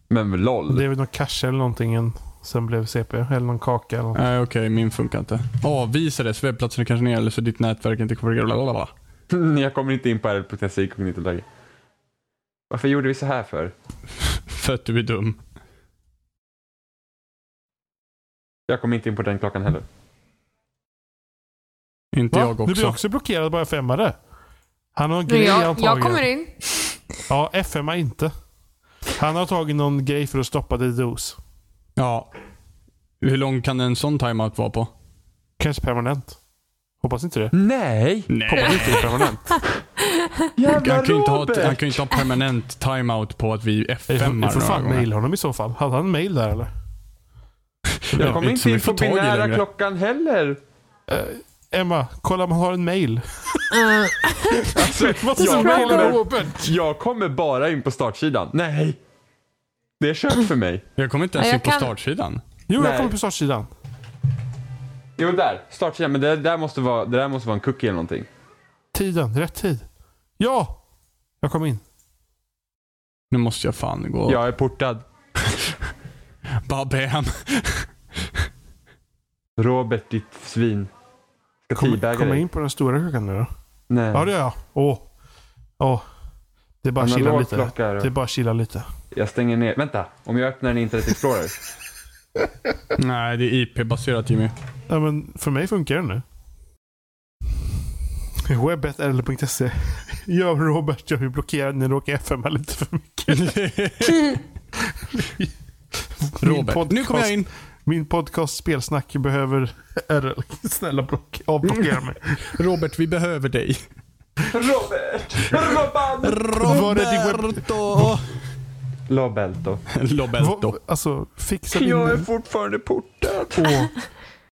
Speaker 4: Men LOL.
Speaker 1: Det är väl någon cash eller någonting än- sen blev CP. Eller någon kaka eller något.
Speaker 2: Nej Eh, okej, min funkar inte. Avvisades, webbplatsen är kanske ner eller så ditt nätverk inte konfigurerat. Blablabla.
Speaker 4: Jag kommer inte in på r.se i kognitoläge. Varför gjorde vi så här för?
Speaker 2: För att du är dum.
Speaker 4: Jag kommer inte in på den klockan heller.
Speaker 2: Inte
Speaker 1: Va?
Speaker 2: jag
Speaker 1: Nu
Speaker 2: också.
Speaker 1: blir jag också blockerad bara jag femmade. Han har en
Speaker 3: Men
Speaker 1: grej
Speaker 3: jag,
Speaker 1: antagligen.
Speaker 3: jag kommer in.
Speaker 1: Ja, FM är inte. Han har tagit någon grej för att stoppa det i dos.
Speaker 2: Ja. Hur lång kan en sån timeout vara på?
Speaker 1: Kanske permanent. Hoppas inte
Speaker 2: Mm.
Speaker 1: det.
Speaker 4: Nej!
Speaker 2: Nej.
Speaker 1: Hoppas inte det är permanent.
Speaker 2: Han
Speaker 4: Jävla
Speaker 2: kan ju inte ha,
Speaker 4: Robert!
Speaker 2: han kan ju inte ha permanent timeout på att vi
Speaker 1: Vi får-
Speaker 2: F5ar
Speaker 1: Vi får
Speaker 2: några
Speaker 1: fan
Speaker 2: gånger.
Speaker 1: mejla honom i så fall. Hade han mejl där eller?
Speaker 4: Jag
Speaker 2: inte
Speaker 4: kommer inte
Speaker 2: som
Speaker 4: in
Speaker 2: vi
Speaker 4: på
Speaker 2: får tag i
Speaker 4: binära
Speaker 2: längre.
Speaker 4: klockan heller.
Speaker 1: Eh, Emma, kolla om han har en mejl.
Speaker 3: Eh,
Speaker 4: Alltså,
Speaker 1: Jag
Speaker 4: jag,
Speaker 1: mejlar
Speaker 4: kommer,
Speaker 1: Robert.
Speaker 4: jag kommer bara in på startsidan. Nej! Det är kört för mig.
Speaker 2: Jag kommer inte ens in
Speaker 3: Ja, jag
Speaker 2: på
Speaker 3: kan-
Speaker 2: startsidan.
Speaker 1: Jo, jag
Speaker 4: Nej.
Speaker 1: kommer på startsidan.
Speaker 4: Jo, där. Startsidan. Men det där måste vara, det där måste vara en cookie eller någonting.
Speaker 1: Tiden, rätt tid. Ja! Jag kom in.
Speaker 2: Nu måste jag fan gå.
Speaker 4: Jag är portad.
Speaker 2: Bara bam.
Speaker 4: Robert, ditt svin. Ska
Speaker 1: Typ, Kommer
Speaker 4: teabagga
Speaker 1: kom jag
Speaker 4: dig.
Speaker 1: in på den stora klockan nu då?
Speaker 4: Nej.
Speaker 1: Ja, det gör jag. Åh. Åh. Det är bara att chilla
Speaker 4: Analog
Speaker 1: lite.
Speaker 4: klocka är det.
Speaker 2: Typ.
Speaker 1: Det är bara att chilla lite.
Speaker 4: Jag stänger ner. Vänta, om jag öppnar en Internet Explorer.
Speaker 2: Nej, det är IP-baserat Jimmy.
Speaker 1: Ja, men för mig funkar den nu. Webetrl.se. Jag och E. Robert, jag blir blockerad när du åker FM lite för mycket. Min
Speaker 2: Robert. Nu kommer jag in.
Speaker 1: Min podcast Spelsnack behöver Mm. RL. Snälla block, avblockera mig.
Speaker 2: Robert, vi behöver dig.
Speaker 4: Robert! Robban!
Speaker 1: Var är din webb-
Speaker 2: Roberto!
Speaker 4: Lobelto.
Speaker 2: Lobelto.
Speaker 1: Va, alltså, fixa din...
Speaker 4: Jag är fortfarande portad.
Speaker 1: Åh,